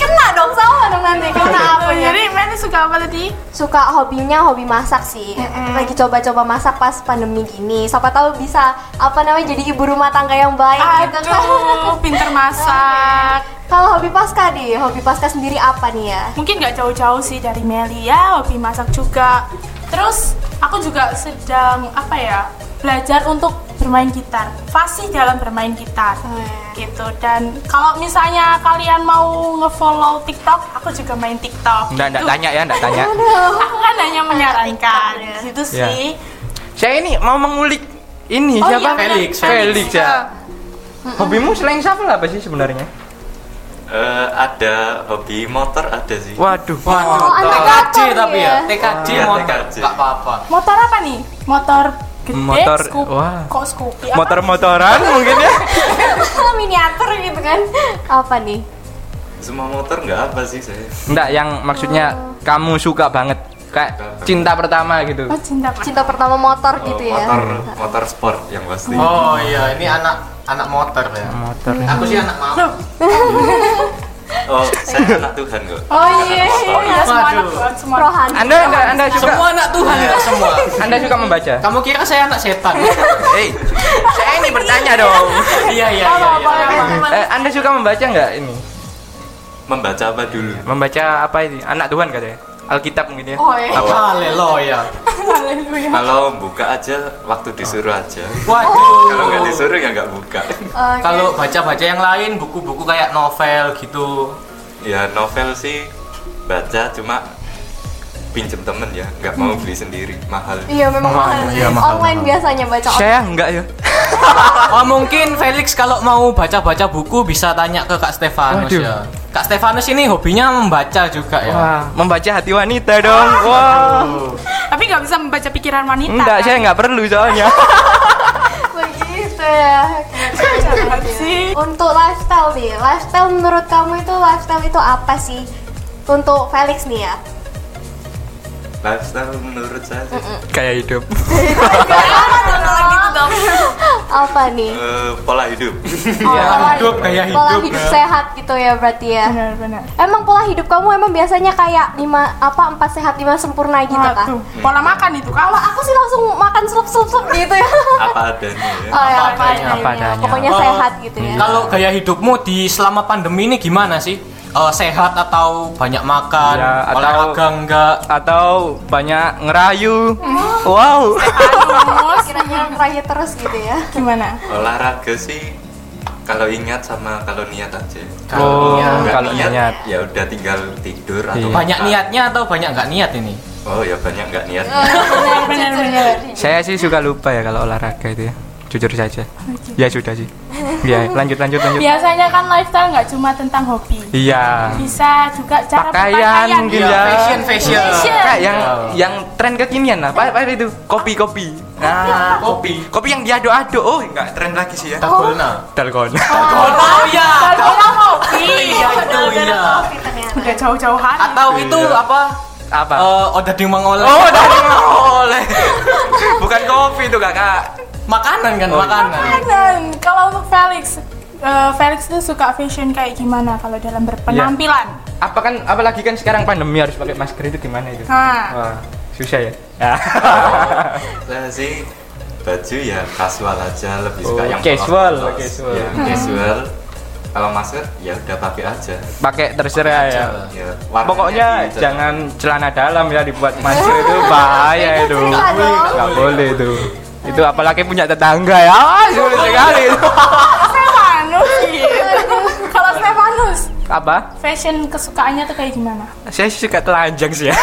S2: Kena dong sama dong nanti. Kena apa
S1: Nah,
S2: ya?
S1: Jadi Meli suka apa tadi?
S2: Suka hobinya hobi masak sih. Lagi coba-coba masak pas pandemi gini. Siapa tahu bisa apa namanya jadi ibu rumah tangga yang baik gitu kan.
S1: Aduh, pinter masak.
S2: Kalau hobi pasca deh, hobi pasca sendiri apa nih ya?
S1: Mungkin nggak jauh-jauh sih dari Meli ya, hobi masak juga. Terus aku juga sedang apa ya? Belajar untuk bermain gitar, fasih dalam bermain gitar.
S2: Hmm.
S1: gitu dan kalau misalnya kalian mau ngefollow TikTok, aku juga main TikTok.
S3: Enggak, enggak tanya ya, enggak tanya.
S1: Aku kan hanya menyarankan
S2: TikTok ya.
S1: gitu
S3: Ya.
S1: sih.
S3: Saya ini mau mengulik ini
S1: Oh,
S3: siapa?
S1: iya, benar.
S4: Felix,
S3: Felix
S1: ya.
S3: ya. Hobimu selain shuffle apa sih sebenarnya?
S5: Eh, ada hobi motor ada sih
S3: Waduh.
S2: Oh, anak
S4: TKJ
S2: motor
S4: tapi ya,
S2: dia.
S4: TKJ
S5: Iya,
S4: motor.
S5: TKJ.
S4: Enggak apa-apa.
S1: Motor apa nih? Motor gede,
S3: Motor-
S1: scoop-
S3: wah.
S1: kok Scoopy? Apa?
S3: Motor-motoran mungkin ya.
S2: Miniatur gitu kan. Apa nih?
S5: semua motor nggak apa sih saya
S3: Enggak, yang maksudnya kamu suka banget kayak cinta pertama gitu.
S1: Oh, cinta Pak.
S2: Cinta pertama motor
S5: Oh,
S2: gitu ya.
S5: motor motor sport yang pasti
S4: Oh iya, ini anak anak motor ya.
S3: Motor.
S4: Aku sih anak mau.
S5: oh saya anak Tuhan kok
S1: Oh iya, iya, semua anak
S4: Waduh.
S1: buat semua.
S2: Rohani.
S3: Anda anda anda suka
S4: Semua anak Tuhan ya semua.
S3: Anda suka membaca?
S4: Kamu kira saya anak setan?
S3: Eh, saya ini bertanya dong.
S4: Iya iya
S1: Apa,
S4: iya.
S1: apa,
S4: iya.
S1: apa, apa.
S3: Eh, anda suka membaca nggak ini?
S5: membaca apa dulu
S3: Membaca apa ini? Anak Tuhan katanya. Alkitab mungkin ya.
S1: Oh iya.
S4: Haleluya.
S1: Haleluya.
S5: kalau buka aja waktu disuruh aja
S4: Oh.
S5: kalau nggak
S4: Waduh.
S5: disuruh ya nggak buka
S2: Oke.
S4: Kalau baca-baca yang lain buku-buku kayak novel gitu.
S5: ya novel sih baca cuma pinjem temen ya nggak mau beli sendiri mahal
S2: Iya memang
S3: Mahal,
S2: mahal.
S3: iya, mahal,
S2: Online biasanya baca online.
S3: Saya enggak ya.
S4: Oh mungkin Felix kalau mau baca-baca buku bisa tanya ke Kak Stefanus
S3: Waduh.
S4: ya. Kak Stefanus ini hobinya membaca juga ya.
S3: Wah, membaca hati wanita dong. Wah.
S1: Tapi nggak bisa membaca pikiran wanita. kan?
S3: Enggak, saya enggak perlu soalnya.
S2: Begitu ya.
S1: Jangan sih.
S2: Untuk lifestyle nih, lifestyle menurut kamu itu lifestyle itu apa sih? Untuk Felix nih ya.
S5: lifestyle menurut saya sih,
S3: Kayak hidup.
S2: Apa nih?
S5: eh, pola hidup
S2: pola
S4: Iya, hidup, gaya
S2: Pola
S4: hidup,
S2: hidup
S4: ya.
S2: sehat gitu ya berarti ya.
S1: Benar-benar.
S2: Emang pola hidup kamu emang biasanya kayak lima apa empat sehat lima sempurna gitu kah?
S1: Waduh, pola makan itu
S2: Kalau
S1: kalau
S2: aku sih langsung makan slup slup slup gitu ya.
S5: apa adanya ya
S2: Oh, ya,
S4: Apa adanya,
S3: apa adanya.
S2: Pokoknya
S4: Oh,
S2: sehat gitu ya.
S4: Kalau gaya hidupmu di selama pandemi ini gimana sih? Eh, sehat atau banyak makan,
S3: Ya, atau-
S4: olahraga enggak?
S3: Atau banyak ngerayu. Wow.
S1: Anus,
S2: Kira-kira raya terus gitu ya.
S1: gimana?
S5: olahraga sih kalau ingat sama kalau niat aja
S3: Oh,
S5: Nggak
S3: kalau niat.
S5: ya udah tinggal tidur atau
S3: Iya.
S4: Banyak
S5: makan.
S4: niatnya atau banyak nggak niat ini?
S5: oh ya banyak nggak niat
S1: Benar-benar.
S3: Saya sih suka lupa ya kalau olahraga itu ya. Jujur saja. Ya sudah sih. Ya, lanjut lanjut lanjut.
S1: Biasanya kan lifestyle nggak cuma tentang hobi.
S3: Iya.
S1: Bisa juga cara
S3: Pakaian
S1: berpakaian.
S3: mungkin ya.
S4: Iya, fashion fashion.
S1: Fashion.
S3: Kayak yang
S4: Iya.
S3: yang tren kekinian lah. Apa, apa itu? Kopi kopi. Nah, kopi. Kopi yang diaduk-aduk. Oh, enggak tren lagi sih ya.
S4: Dalgona.
S3: Telkon.
S4: nah. Oh iya.
S1: Dalgona kopi.
S4: Iya itu iya.
S1: Udah jauh-jauh hari.
S4: Atau itu
S5: Iya.
S4: apa?
S3: Apa?
S4: Eh, order di oleh
S3: Oh, udah oleh. Bukan kopi itu, Kakak.
S4: makanan
S3: Oh,
S4: kan
S3: iya.
S4: makanan.
S1: Kanan. Kalau untuk Felix, eh, Felix tuh suka fashion kayak gimana kalau dalam berpenampilan?
S3: Apa kan apalagi kan sekarang pandemi harus pakai masker itu gimana itu?
S1: Nah,
S3: Wah, susah ya. Ya.
S5: saya sih baju ya casual aja lebih suka
S3: Oh,
S5: yang
S3: casual,
S5: polos-polos.
S3: casual.
S5: Ya, casual kalau masker ya udah pakai aja
S3: pakai terserah ya
S5: ya warnanya
S3: pokoknya
S5: dipijat.
S3: jangan celana dalam ya dibuat masker itu bahaya itu
S2: cerita dong.
S3: nggak boleh itu itu apalagi punya tetangga ya ah, sulit sekali itu
S1: Stefanus
S3: Iya.
S1: gitu. Kalau Stefanus,
S3: apa
S1: fashion kesukaannya tuh kayak gimana?
S3: saya suka telanjang sih ya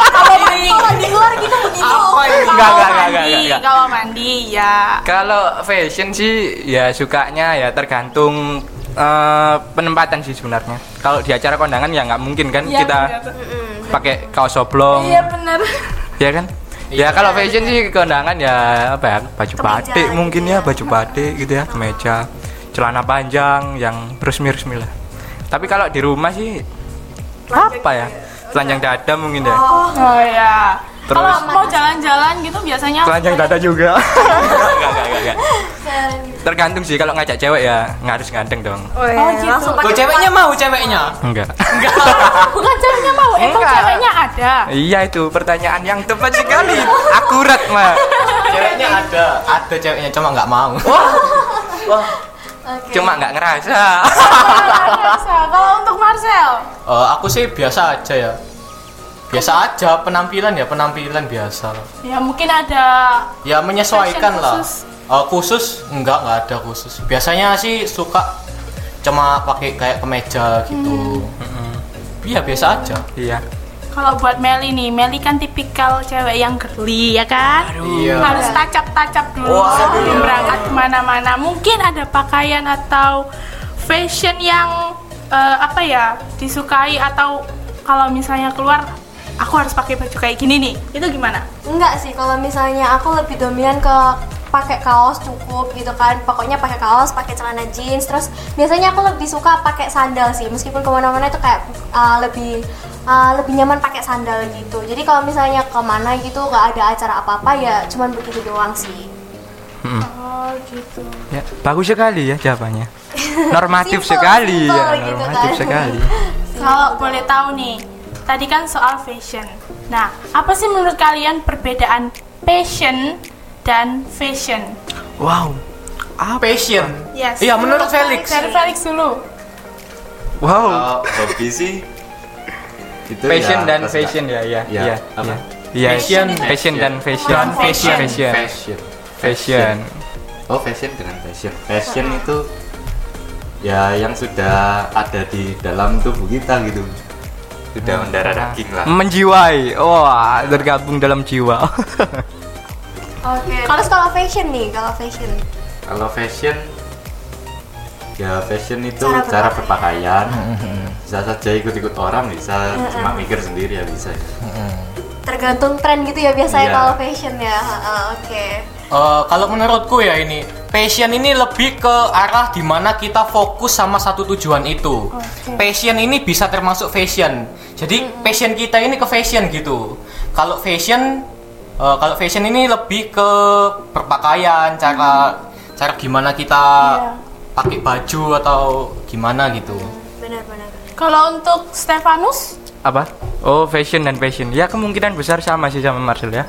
S1: Kalau di luar gitu begitu.
S3: Apa ini? Enggak, enggak, enggak, enggak, enggak.
S1: Kalau mandi ya.
S3: Kalau fashion sih ya sukanya ya tergantung eh, penempatan sih sebenarnya. Kalau di acara kondangan ya nggak mungkin kan
S1: Iya,
S3: kita
S1: bener.
S3: pakai kaos oblong,
S1: Iya bener.
S3: ya kan? Ya kalau fashion sih kondangan ya apa ya baju batik
S1: gitu
S3: mungkin ya baju batik gitu ya kemeja, celana panjang yang resmi-resmi lah. Tapi kalau di rumah sih apa ya? Telanjang dada mungkin ya.
S1: Oh ya.
S3: Terus?
S1: Kalau mau jalan-jalan gitu biasanya
S3: telanjang dada juga Enggak, enggak, enggak, enggak. tergantung sih kalau ngajak cewek ya nggak harus ganteng dong
S2: Oh,
S1: gitu.
S2: langsung
S4: Kok
S2: pakai
S4: ceweknya mau ceweknya?
S3: enggak
S1: bukan ceweknya mau, emang
S3: Enggak.
S1: ceweknya ada.
S3: iya itu pertanyaan yang tepat sekali akurat mah
S4: Ceweknya ada, ada ceweknya cuma nggak mau.
S3: Oh, cuma nggak ngerasa
S1: Biasa. Kalau untuk Marcel,
S4: Eh, aku sih biasa aja ya. Biasa aja penampilan ya, penampilan biasa. lah.
S1: ya mungkin ada
S4: Ya
S1: Fashion
S4: menyesuaikan lah.
S1: khusus.
S4: Eh, khusus enggak nggak ada khusus. Biasanya sih suka cuma pakai kayak kemeja gitu.
S1: Hmm.
S4: Iya biasa aja.
S3: iya
S1: kalau buat Meli nih, Meli kan tipikal cewek yang girly ya kan?
S4: Iya.
S1: Harus tacap-tacap dulu sebelum berangkat kemana-mana. Mungkin ada pakaian atau fashion yang eh, apa ya disukai atau kalau misalnya keluar aku harus pakai baju kayak gini nih. Itu gimana?
S2: Enggak sih, kalau misalnya aku lebih dominan ke pakai kaos cukup gitu kan pokoknya pakai kaos pakai celana jeans terus biasanya aku lebih suka pakai sandal sih meskipun kemana-mana itu kayak uh, lebih uh, lebih nyaman pakai sandal gitu jadi kalau misalnya kemana gitu nggak ada acara apa-apa ya cuman begitu doang sih
S3: Hmm.
S1: Oh gitu.
S3: ya, bagus sekali ya jawabannya normatif
S2: Simple,
S3: sekali
S2: simple
S3: ya
S2: gitu
S3: normatif
S2: kan.
S3: sekali
S1: Kalau boleh tahu nih, tadi kan soal fashion. Nah, apa sih menurut kalian perbedaan passion dan fashion?
S3: wow apa
S4: Passion.
S1: Yes.
S4: Iya menurut Felix.
S1: Dari Felix dulu.
S3: wow
S5: Kalau hobi sih itu
S3: fashion
S5: ya,
S3: dan
S5: pasti-
S3: fashion ya ya
S5: Ya,
S3: iya
S5: apa?
S3: iya. Iya,
S4: Fashion.
S3: fashion dan fashion
S1: Dan fashion.
S3: fashion
S5: fashion
S3: fashion
S5: oh fashion dengan fashion fashion itu ya yang sudah ada di dalam tubuh kita gitu sudah mendarah daging lah
S3: Hmm. menjiwai wah tergabung dalam jiwa
S2: oke terus kalau fashion nih kalau fashion
S5: kalau fashion ya fashion itu
S2: Cara
S5: cara,
S2: berpakaian.
S5: berpakaian bisa saja ikut-ikut orang bisa
S2: Hmm.
S5: cuma mikir sendiri ya bisa
S2: tergantung tren gitu ya biasanya
S5: Iya.
S2: kalau fashion ya Ha, ha, oke
S4: Eh, kalau menurutku ya ini passion ini lebih ke arah dimana kita fokus sama satu tujuan itu. Passion ini bisa termasuk fashion. Jadi passion kita ini ke fashion gitu. Kalau fashion, eh, kalau fashion ini lebih ke berpakaian, cara cara gimana kita pakai baju atau gimana gitu.
S2: benar-benar
S1: Kalau untuk Stefanus,
S3: apa oh fashion dan fashion ya kemungkinan besar sama sih sama Marcel ya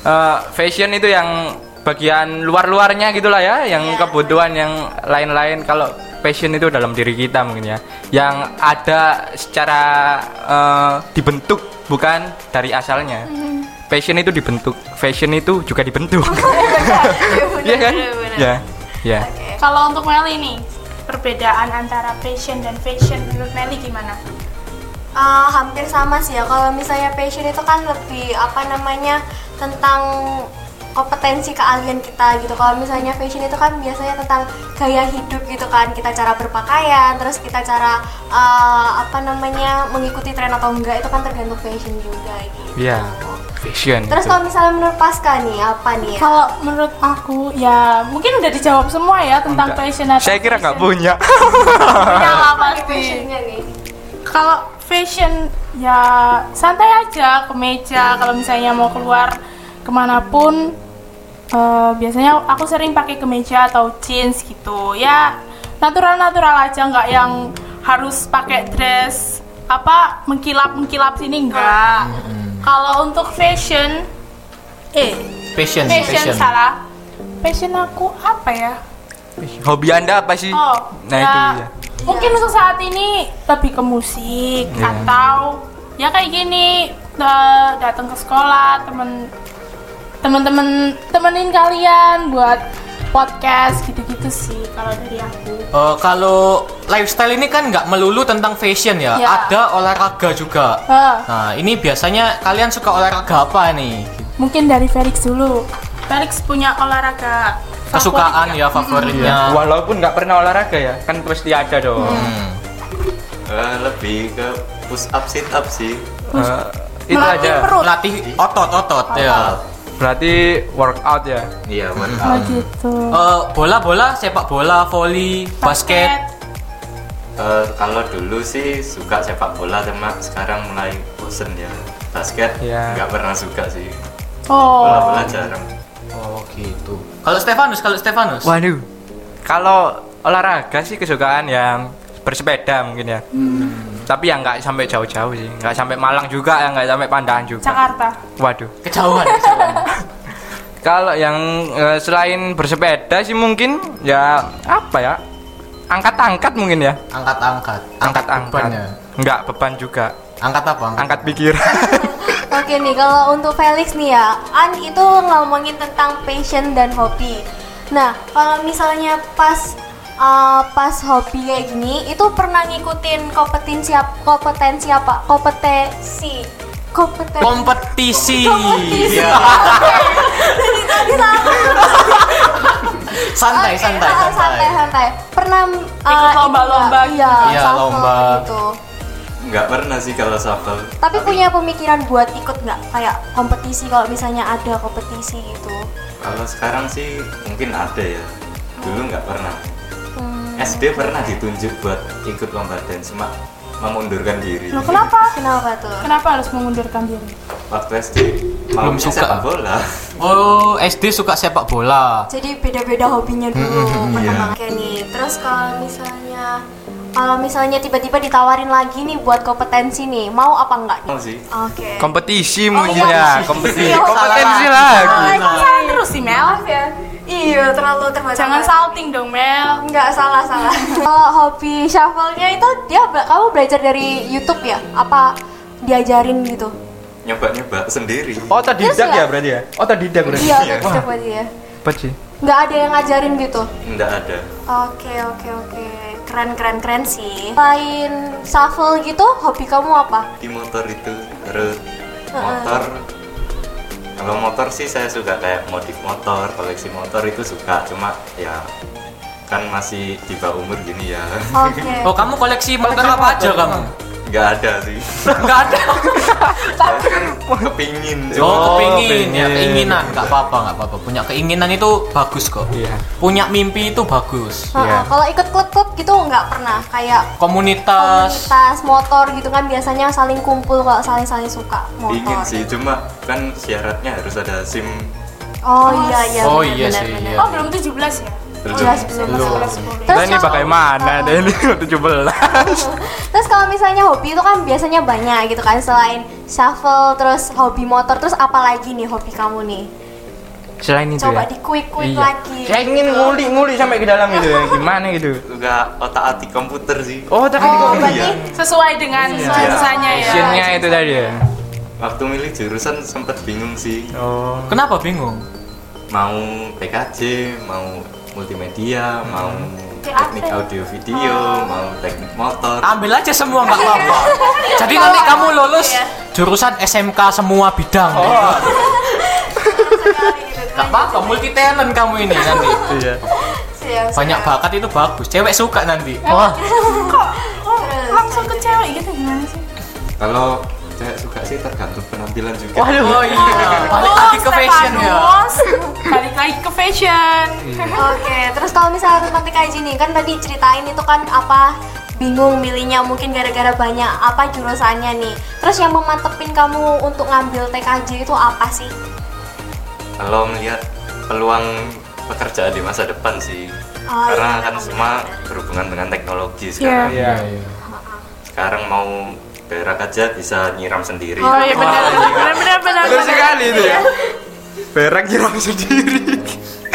S3: Eh, fashion itu yang bagian luar-luarnya gitulah ya yang
S1: Iya,
S3: kebutuhan yang lain-lain kalau fashion itu dalam diri kita mungkin ya yang ada secara eh, dibentuk bukan dari asalnya
S1: Mm-hmm.
S3: fashion itu dibentuk fashion itu juga dibentuk
S1: Oh,
S3: iya kan ya ya
S1: kalau untuk Meli nih, perbedaan antara passion dan fashion menurut Meli gimana?
S2: Eh, hampir sama sih ya kalau misalnya passion itu kan lebih apa namanya tentang kompetensi keahlian kita gitu kalau misalnya fashion itu kan biasanya tentang gaya hidup gitu kan kita cara berpakaian terus kita cara eh, apa namanya mengikuti tren atau enggak itu kan tergantung fashion juga gitu
S3: ya fashion
S2: terus
S3: itu.
S2: kalau misalnya menurut Pasca nih apa nih ya?
S1: Kalau menurut aku ya mungkin udah dijawab semua ya tentang
S3: Enggak.
S1: passion atau
S3: saya kira nggak
S1: fashion.
S3: punya
S1: Punya lah pasti.
S2: Passionnya nih
S1: kalau fashion ya santai aja kemeja kalau misalnya mau keluar kemanapun eh, biasanya aku sering pakai kemeja atau jeans gitu ya natural natural aja nggak yang harus pakai dress apa mengkilap mengkilap sini enggak kalau untuk fashion eh
S4: Passion,
S1: fashion salah fashion aku apa ya
S3: hobi anda apa sih
S1: Oh,
S3: nah
S1: ya,
S3: itu ya
S1: Mungkin untuk saat ini lebih ke musik
S3: Iya.
S1: atau ya kayak gini eh, datang ke sekolah temen temen-temen temenin kalian buat podcast gitu-gitu sih kalau dari aku.
S4: Eh, kalau lifestyle ini kan nggak melulu tentang fashion ya,
S1: Ya.
S4: ada olahraga juga.
S1: Eh,
S4: Nah, ini biasanya kalian suka olahraga apa nih?
S1: mungkin dari Felix dulu. Felix punya olahraga favorit
S4: Kesukaan
S1: nggak?
S4: ya favoritnya.
S3: Walaupun nggak pernah olahraga ya, kan pasti ada dong.
S4: Hmm.
S5: Eh, lebih ke push up sit up sih
S2: Hmm.
S3: Eh, itu
S1: Melatih
S3: aja.
S1: perut.
S4: Melatih otot-otot ya.
S3: Berarti workout ya.
S5: iya
S1: Oh
S5: workout
S1: gitu.
S4: Eh, bola-bola, sepak bola, voli, Oh, basket.
S5: Eh, kalau dulu sih suka sepak bola cuma sekarang mulai bosen ya basket
S4: Ya.
S3: Iya.
S5: nggak pernah suka sih bola
S1: Oh.
S5: bola jarang
S4: Oh gitu. Kalau Stefanus, kalau Stefanus.
S3: Waduh. Kalau olahraga sih kesukaan yang bersepeda mungkin ya.
S2: Hmm.
S3: Tapi yang nggak sampai jauh-jauh sih, nggak sampai Malang juga, yang nggak sampai Pandahan juga.
S1: Jakarta.
S3: Waduh.
S4: Kejauhan, kejauhan.
S3: Kalau yang eh, selain bersepeda sih mungkin ya apa ya? Angkat-angkat mungkin ya.
S4: Angkat-angkat.
S3: Angkat-angkat.
S2: ya?
S4: bebannya.
S3: Enggak beban juga.
S4: Angkat apa?
S3: Angkat pikiran.
S2: Oke nih, kalau untuk Felix nih ya, An itu ngomongin tentang passion dan hobi. Nah, kalau misalnya pas uh, pas hobi kayak gini, itu pernah ngikutin kompetensi apa? Kompetensi apa? Kompetensi. Kompetensi.
S4: Kompetisi.
S2: Kompetisi.
S4: Iya.
S2: Jadi tadi salah.
S4: Santai,
S2: Oke,
S4: santai,
S2: ah,
S4: santai.
S2: santai. Pernah uh,
S1: Ikut
S2: itu
S1: lomba-lomba gitu.
S2: nggak? Iya,
S4: Iya,
S2: shuffle
S4: lomba.
S2: gitu.
S5: nggak pernah sih kalau shuffle
S2: Tapi punya pemikiran buat ikut nggak kayak kompetisi kalau misalnya ada kompetisi gitu.
S5: kalau sekarang sih mungkin ada ya dulu nggak pernah
S2: Hmm.
S5: SD pernah ditunjuk buat ikut lomba dance cuma memundurkan diri
S1: Loh, kenapa?
S2: Kenapa tuh?
S1: Kenapa harus mengundurkan diri?
S5: waktu SD mau
S4: Belum suka.
S5: sepak bola
S4: Oh, SD suka sepak bola.
S2: jadi beda-beda hobinya dulu perkembangan kayak nih terus kalau misalnya kalau misalnya tiba-tiba ditawarin lagi nih buat kompetensi nih mau apa enggak nih
S5: mau sih
S2: oke
S3: kompetisi
S2: Oh,
S3: mungkin
S2: iya.
S3: ya, kompetisi.
S2: Iya,
S3: Kompetensi
S4: salah.
S2: Ah,
S3: lagi.
S1: Nah, salah terus sih Mel.
S2: Maaf ya iya terlalu terbatas
S1: Jangan salting dong Mel.
S2: enggak salah salah kalau hobi shuffle-nya itu dia be- kamu belajar dari YouTube ya apa diajarin gitu
S5: nyoba-nyoba sendiri
S3: Otodidak
S2: Terus ya?
S3: ya berarti ya? Otodidak berarti.
S2: iya
S5: Iya.
S2: tetap aja ya
S3: Hebat sih.
S2: nggak ada yang ngajarin gitu
S5: nggak ada
S2: Oke oke oke keren keren keren sih. Selain shuffle gitu, hobi kamu apa?
S5: di motor itu terus motor kalau motor sih saya suka kayak modif motor koleksi motor itu suka cuma ya kan masih di bawah umur gini ya
S2: Oke.
S4: Oh, kamu koleksi motor apa aja kamu?
S5: nggak ada sih
S4: Enggak ada.
S5: saya kan kepingin cuma
S4: Oh,
S3: Oh,
S4: kepingin ya,
S3: pengen.
S4: keinginan. Enggak apa-apa, enggak apa-apa. Punya keinginan itu bagus kok.
S3: Iya.
S4: Punya mimpi itu bagus.
S2: Heeh,
S3: Iya.
S2: Kalau ikut klub-klub gitu nggak pernah kayak
S4: Komunitas
S2: komunitas motor gitu kan biasanya saling kumpul kalau saling-saling suka motor.
S5: ingin sih cuma kan syaratnya harus ada sim
S2: Oh iya iya.
S4: Oh,
S2: benar,
S4: iya
S2: benar,
S4: sih,
S2: benar.
S4: iya.
S1: Oh, belum 17 ya?
S5: Belum.
S2: Jelas,
S1: Belum
S2: belum.
S1: 11
S2: Terus
S3: Nah, ini
S2: yang-
S3: bagaimana?
S2: Oh.
S3: Ini 17.
S2: Terus kalau misalnya hobi itu kan biasanya banyak gitu kan selain shuffle terus hobi motor terus apalagi nih hobi kamu nih?
S3: Selain itu
S2: Coba
S3: ya.
S2: di kuik-kuik
S3: Iya.
S2: lagi.
S3: Saya ingin
S2: gitu.
S3: nguli-nguli sampai ke dalam gitu ya. Gimana gitu.
S5: suka otak-atik komputer sih
S3: Oh,
S2: Oh,
S3: tapi kok-
S2: berarti
S1: Sesuai dengan
S5: Iya.
S1: susahnya ya.
S3: Passionnya itu tadi ya.
S5: waktu milih jurusan sempet bingung sih
S3: Oh.
S4: Kenapa bingung?
S5: mau PKJ mau multimedia mau teknik audio video mau teknik motor
S4: Ambil aja semua nggak apa-apa. Jadi nanti kamu lulus jurusan SMK semua bidang.
S3: Oh.
S2: gitu kan.
S4: Nggak apa-apa, multi talent kamu ini nanti.
S3: Iya.
S2: Siap, siap.
S4: Banyak bakat itu bagus. Cewek suka nanti. Wah,
S1: Kok kok Oh, langsung ke cewek gitu gimana sih?
S5: Kalau saya suka sih tergantung penampilan
S4: oh
S5: juga.
S3: Waduh.
S4: iya. Balik lagi ke fashion ya. Iya.
S1: Stefanus. Oh, Balik lagi ke fashion.
S2: Oke, terus kalau misalnya tentang TKJ nih, kan tadi ceritain itu kan apa bingung milihnya mungkin gara-gara banyak apa jurusannya nih. Terus yang memantepin kamu untuk ngambil TKJ itu apa sih?
S5: Kalau melihat peluang pekerjaan di masa depan sih.
S2: Oh,
S5: Karena
S2: iya,
S5: kan
S2: benar.
S5: semua berhubungan dengan teknologi sekarang.
S3: Iya, iya.
S5: Sekarang mau berak aja bisa nyiram sendiri.
S1: Oh iya benar. Benar benar benar.
S3: Betul
S4: ya.
S1: benar.
S3: sekali itu ya. Berak jiran sendiri.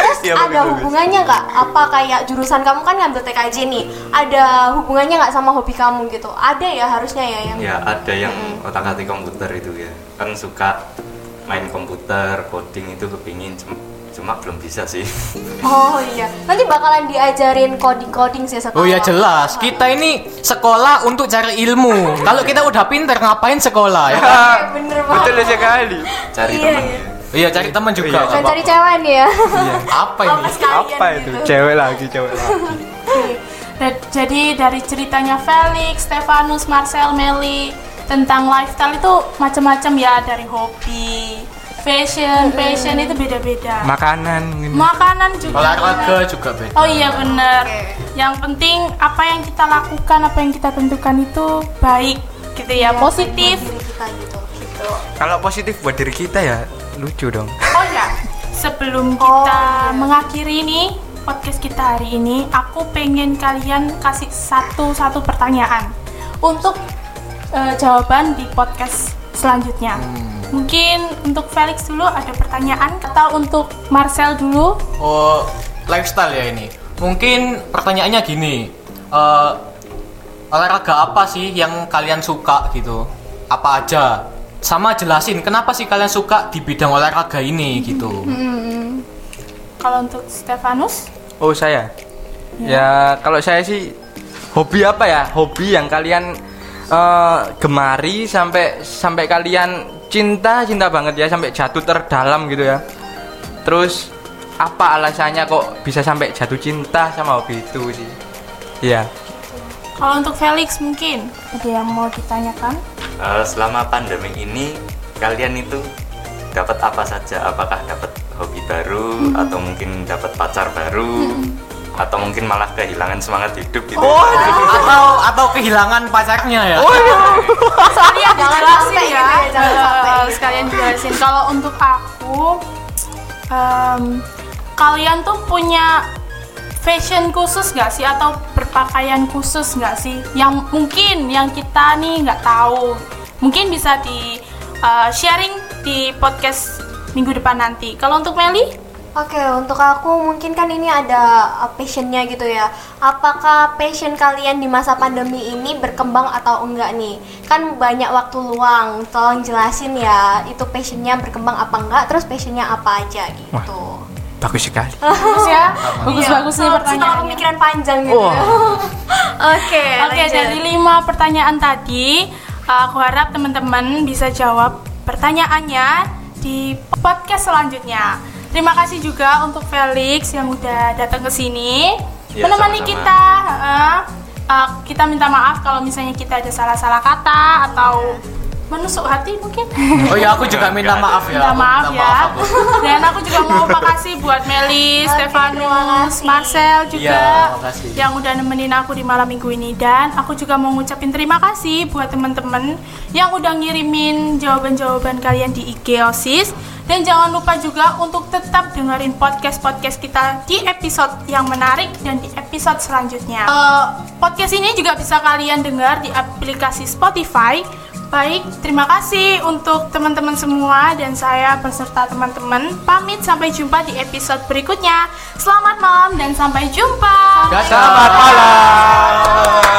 S2: Terus
S5: Iya,
S2: ada
S5: bagus, bagus.
S2: hubungannya nggak? Apa kayak jurusan kamu kan ngambil TKJ nih? Ada hubungannya nggak sama hobi kamu gitu? Ada ya harusnya ya yang
S4: Iya.
S5: ya ada yang otak atik komputer itu ya kan suka main komputer coding itu kepingin cum- cuma belum bisa sih
S2: Oh iya, nanti bakalan diajarin coding-coding sih sekolah.
S4: Oh ya jelas, kita ini sekolah untuk cari ilmu. Kalau kita udah pinter ngapain sekolah ya? kan?
S2: Iya, bener banget.
S3: Betul sekali.
S5: cari
S2: Iya,
S5: teman
S2: iya.
S5: ya.
S4: Iya cari teman juga.
S2: Dan
S4: nggak
S2: cari
S4: apa-apa.
S2: cewek nih ya.
S4: Iya. Apa
S1: Oh,
S4: ini?
S2: Apa sekalian
S3: Apa itu?
S2: gitu.
S3: Cewek lagi, cewek lagi.
S1: Da- Jadi dari ceritanya Felix, Stefanus, Marcel, Meli tentang lifestyle itu macam-macam ya dari hobi, fashion, fashion itu beda-beda.
S3: Makanan mungkin.
S1: Makanan juga.
S4: Olahraga juga beda.
S1: Oh iya benar.
S2: Oke.
S1: Yang penting apa yang kita lakukan, apa yang kita tentukan itu baik gitu ya,
S2: Iya.
S1: positif.
S2: Diri kita gitu. Gitu.
S3: Kalau positif buat diri kita ya lucu dong.
S1: Oh ya, sebelum kita
S2: Oh, iya.
S1: mengakhiri ini podcast kita hari ini, aku pengen kalian kasih satu-satu pertanyaan untuk eh, jawaban di podcast selanjutnya. Mungkin untuk Felix dulu ada pertanyaan atau untuk Marcel dulu?
S4: Oh, lifestyle ya ini. Mungkin pertanyaannya gini. eh, olahraga apa sih yang kalian suka gitu? Apa aja? Sama jelasin kenapa sih kalian suka di bidang olahraga ini gitu.
S1: Hmm. Kalau untuk Stefanus?
S3: Oh saya? Ya kalau saya sih hobi apa ya? Hobi yang kalian eh, gemari sampai sampai kalian cinta cinta banget ya sampai jatuh terdalam gitu ya. Terus apa alasannya kok bisa sampai jatuh cinta sama hobi itu sih? Iya.
S1: Kalau untuk Felix mungkin ada yang mau ditanyakan?
S5: Eh, selama pandemi ini kalian itu dapat apa saja apakah dapat hobi baru atau mungkin dapat pacar baru atau mungkin malah kehilangan semangat hidup gitu
S2: Oh,
S4: Atau atau kehilangan pacarnya ya.
S1: sekalian
S2: Jangan
S1: dijelasin ya,
S2: sampai gitu ya, jangan sampai
S1: Eh,
S2: gitu.
S1: sekalian dijelasin kalau untuk aku em, kalian tuh punya fashion khusus nggak sih atau berpakaian khusus nggak sih yang mungkin yang kita nih nggak tahu mungkin bisa di eh, sharing di podcast minggu depan nanti kalau untuk Meli
S2: Oke, untuk aku mungkin kan ini ada uh, passionnya gitu ya. Apakah passion kalian di masa pandemi ini berkembang atau enggak nih? Kan banyak waktu luang, tolong jelasin ya. Itu passionnya berkembang apa enggak? Terus passionnya apa aja gitu.
S3: Bagus sekali.
S1: bagus ya bagus bagus nih
S2: Setelah- Setelah
S1: pertanyaannya
S2: pemikiran panjang gitu.
S3: Wah.
S2: Oke,
S1: Oke,
S2: lanjut.
S1: dari lima pertanyaan tadi, aku harap teman-teman bisa jawab pertanyaannya di podcast selanjutnya. Terima kasih juga untuk Felix yang udah datang ke sini
S5: Iya,
S1: menemani
S5: sama-sama.
S1: kita. heeh. Eh, kita minta maaf kalau misalnya kita ada salah-salah kata atau menusuk hati mungkin.
S4: Oh ya aku juga minta maaf ya.
S1: minta
S4: Aku
S1: maaf
S4: minta
S1: ya.
S4: aku.
S1: Dan aku juga mau makasih buat Meli,
S2: Oke, terima
S1: Stefanus,
S2: kasih.
S1: Marcel juga Ya,
S4: Iya, makasih.
S1: yang udah nemenin aku di malam minggu ini dan aku juga mau ngucapin terima kasih buat temen-temen yang udah ngirimin jawaban-jawaban kalian di IG OSIS dan jangan lupa juga untuk tetap dengerin podcast-podcast kita di episode yang menarik dan di episode selanjutnya. Eh, podcast ini juga bisa kalian dengar di aplikasi Spotify Baik, terima kasih untuk teman-teman semua dan saya beserta teman-teman pamit sampai jumpa di episode berikutnya. Selamat malam dan sampai jumpa.
S4: Selamat malam.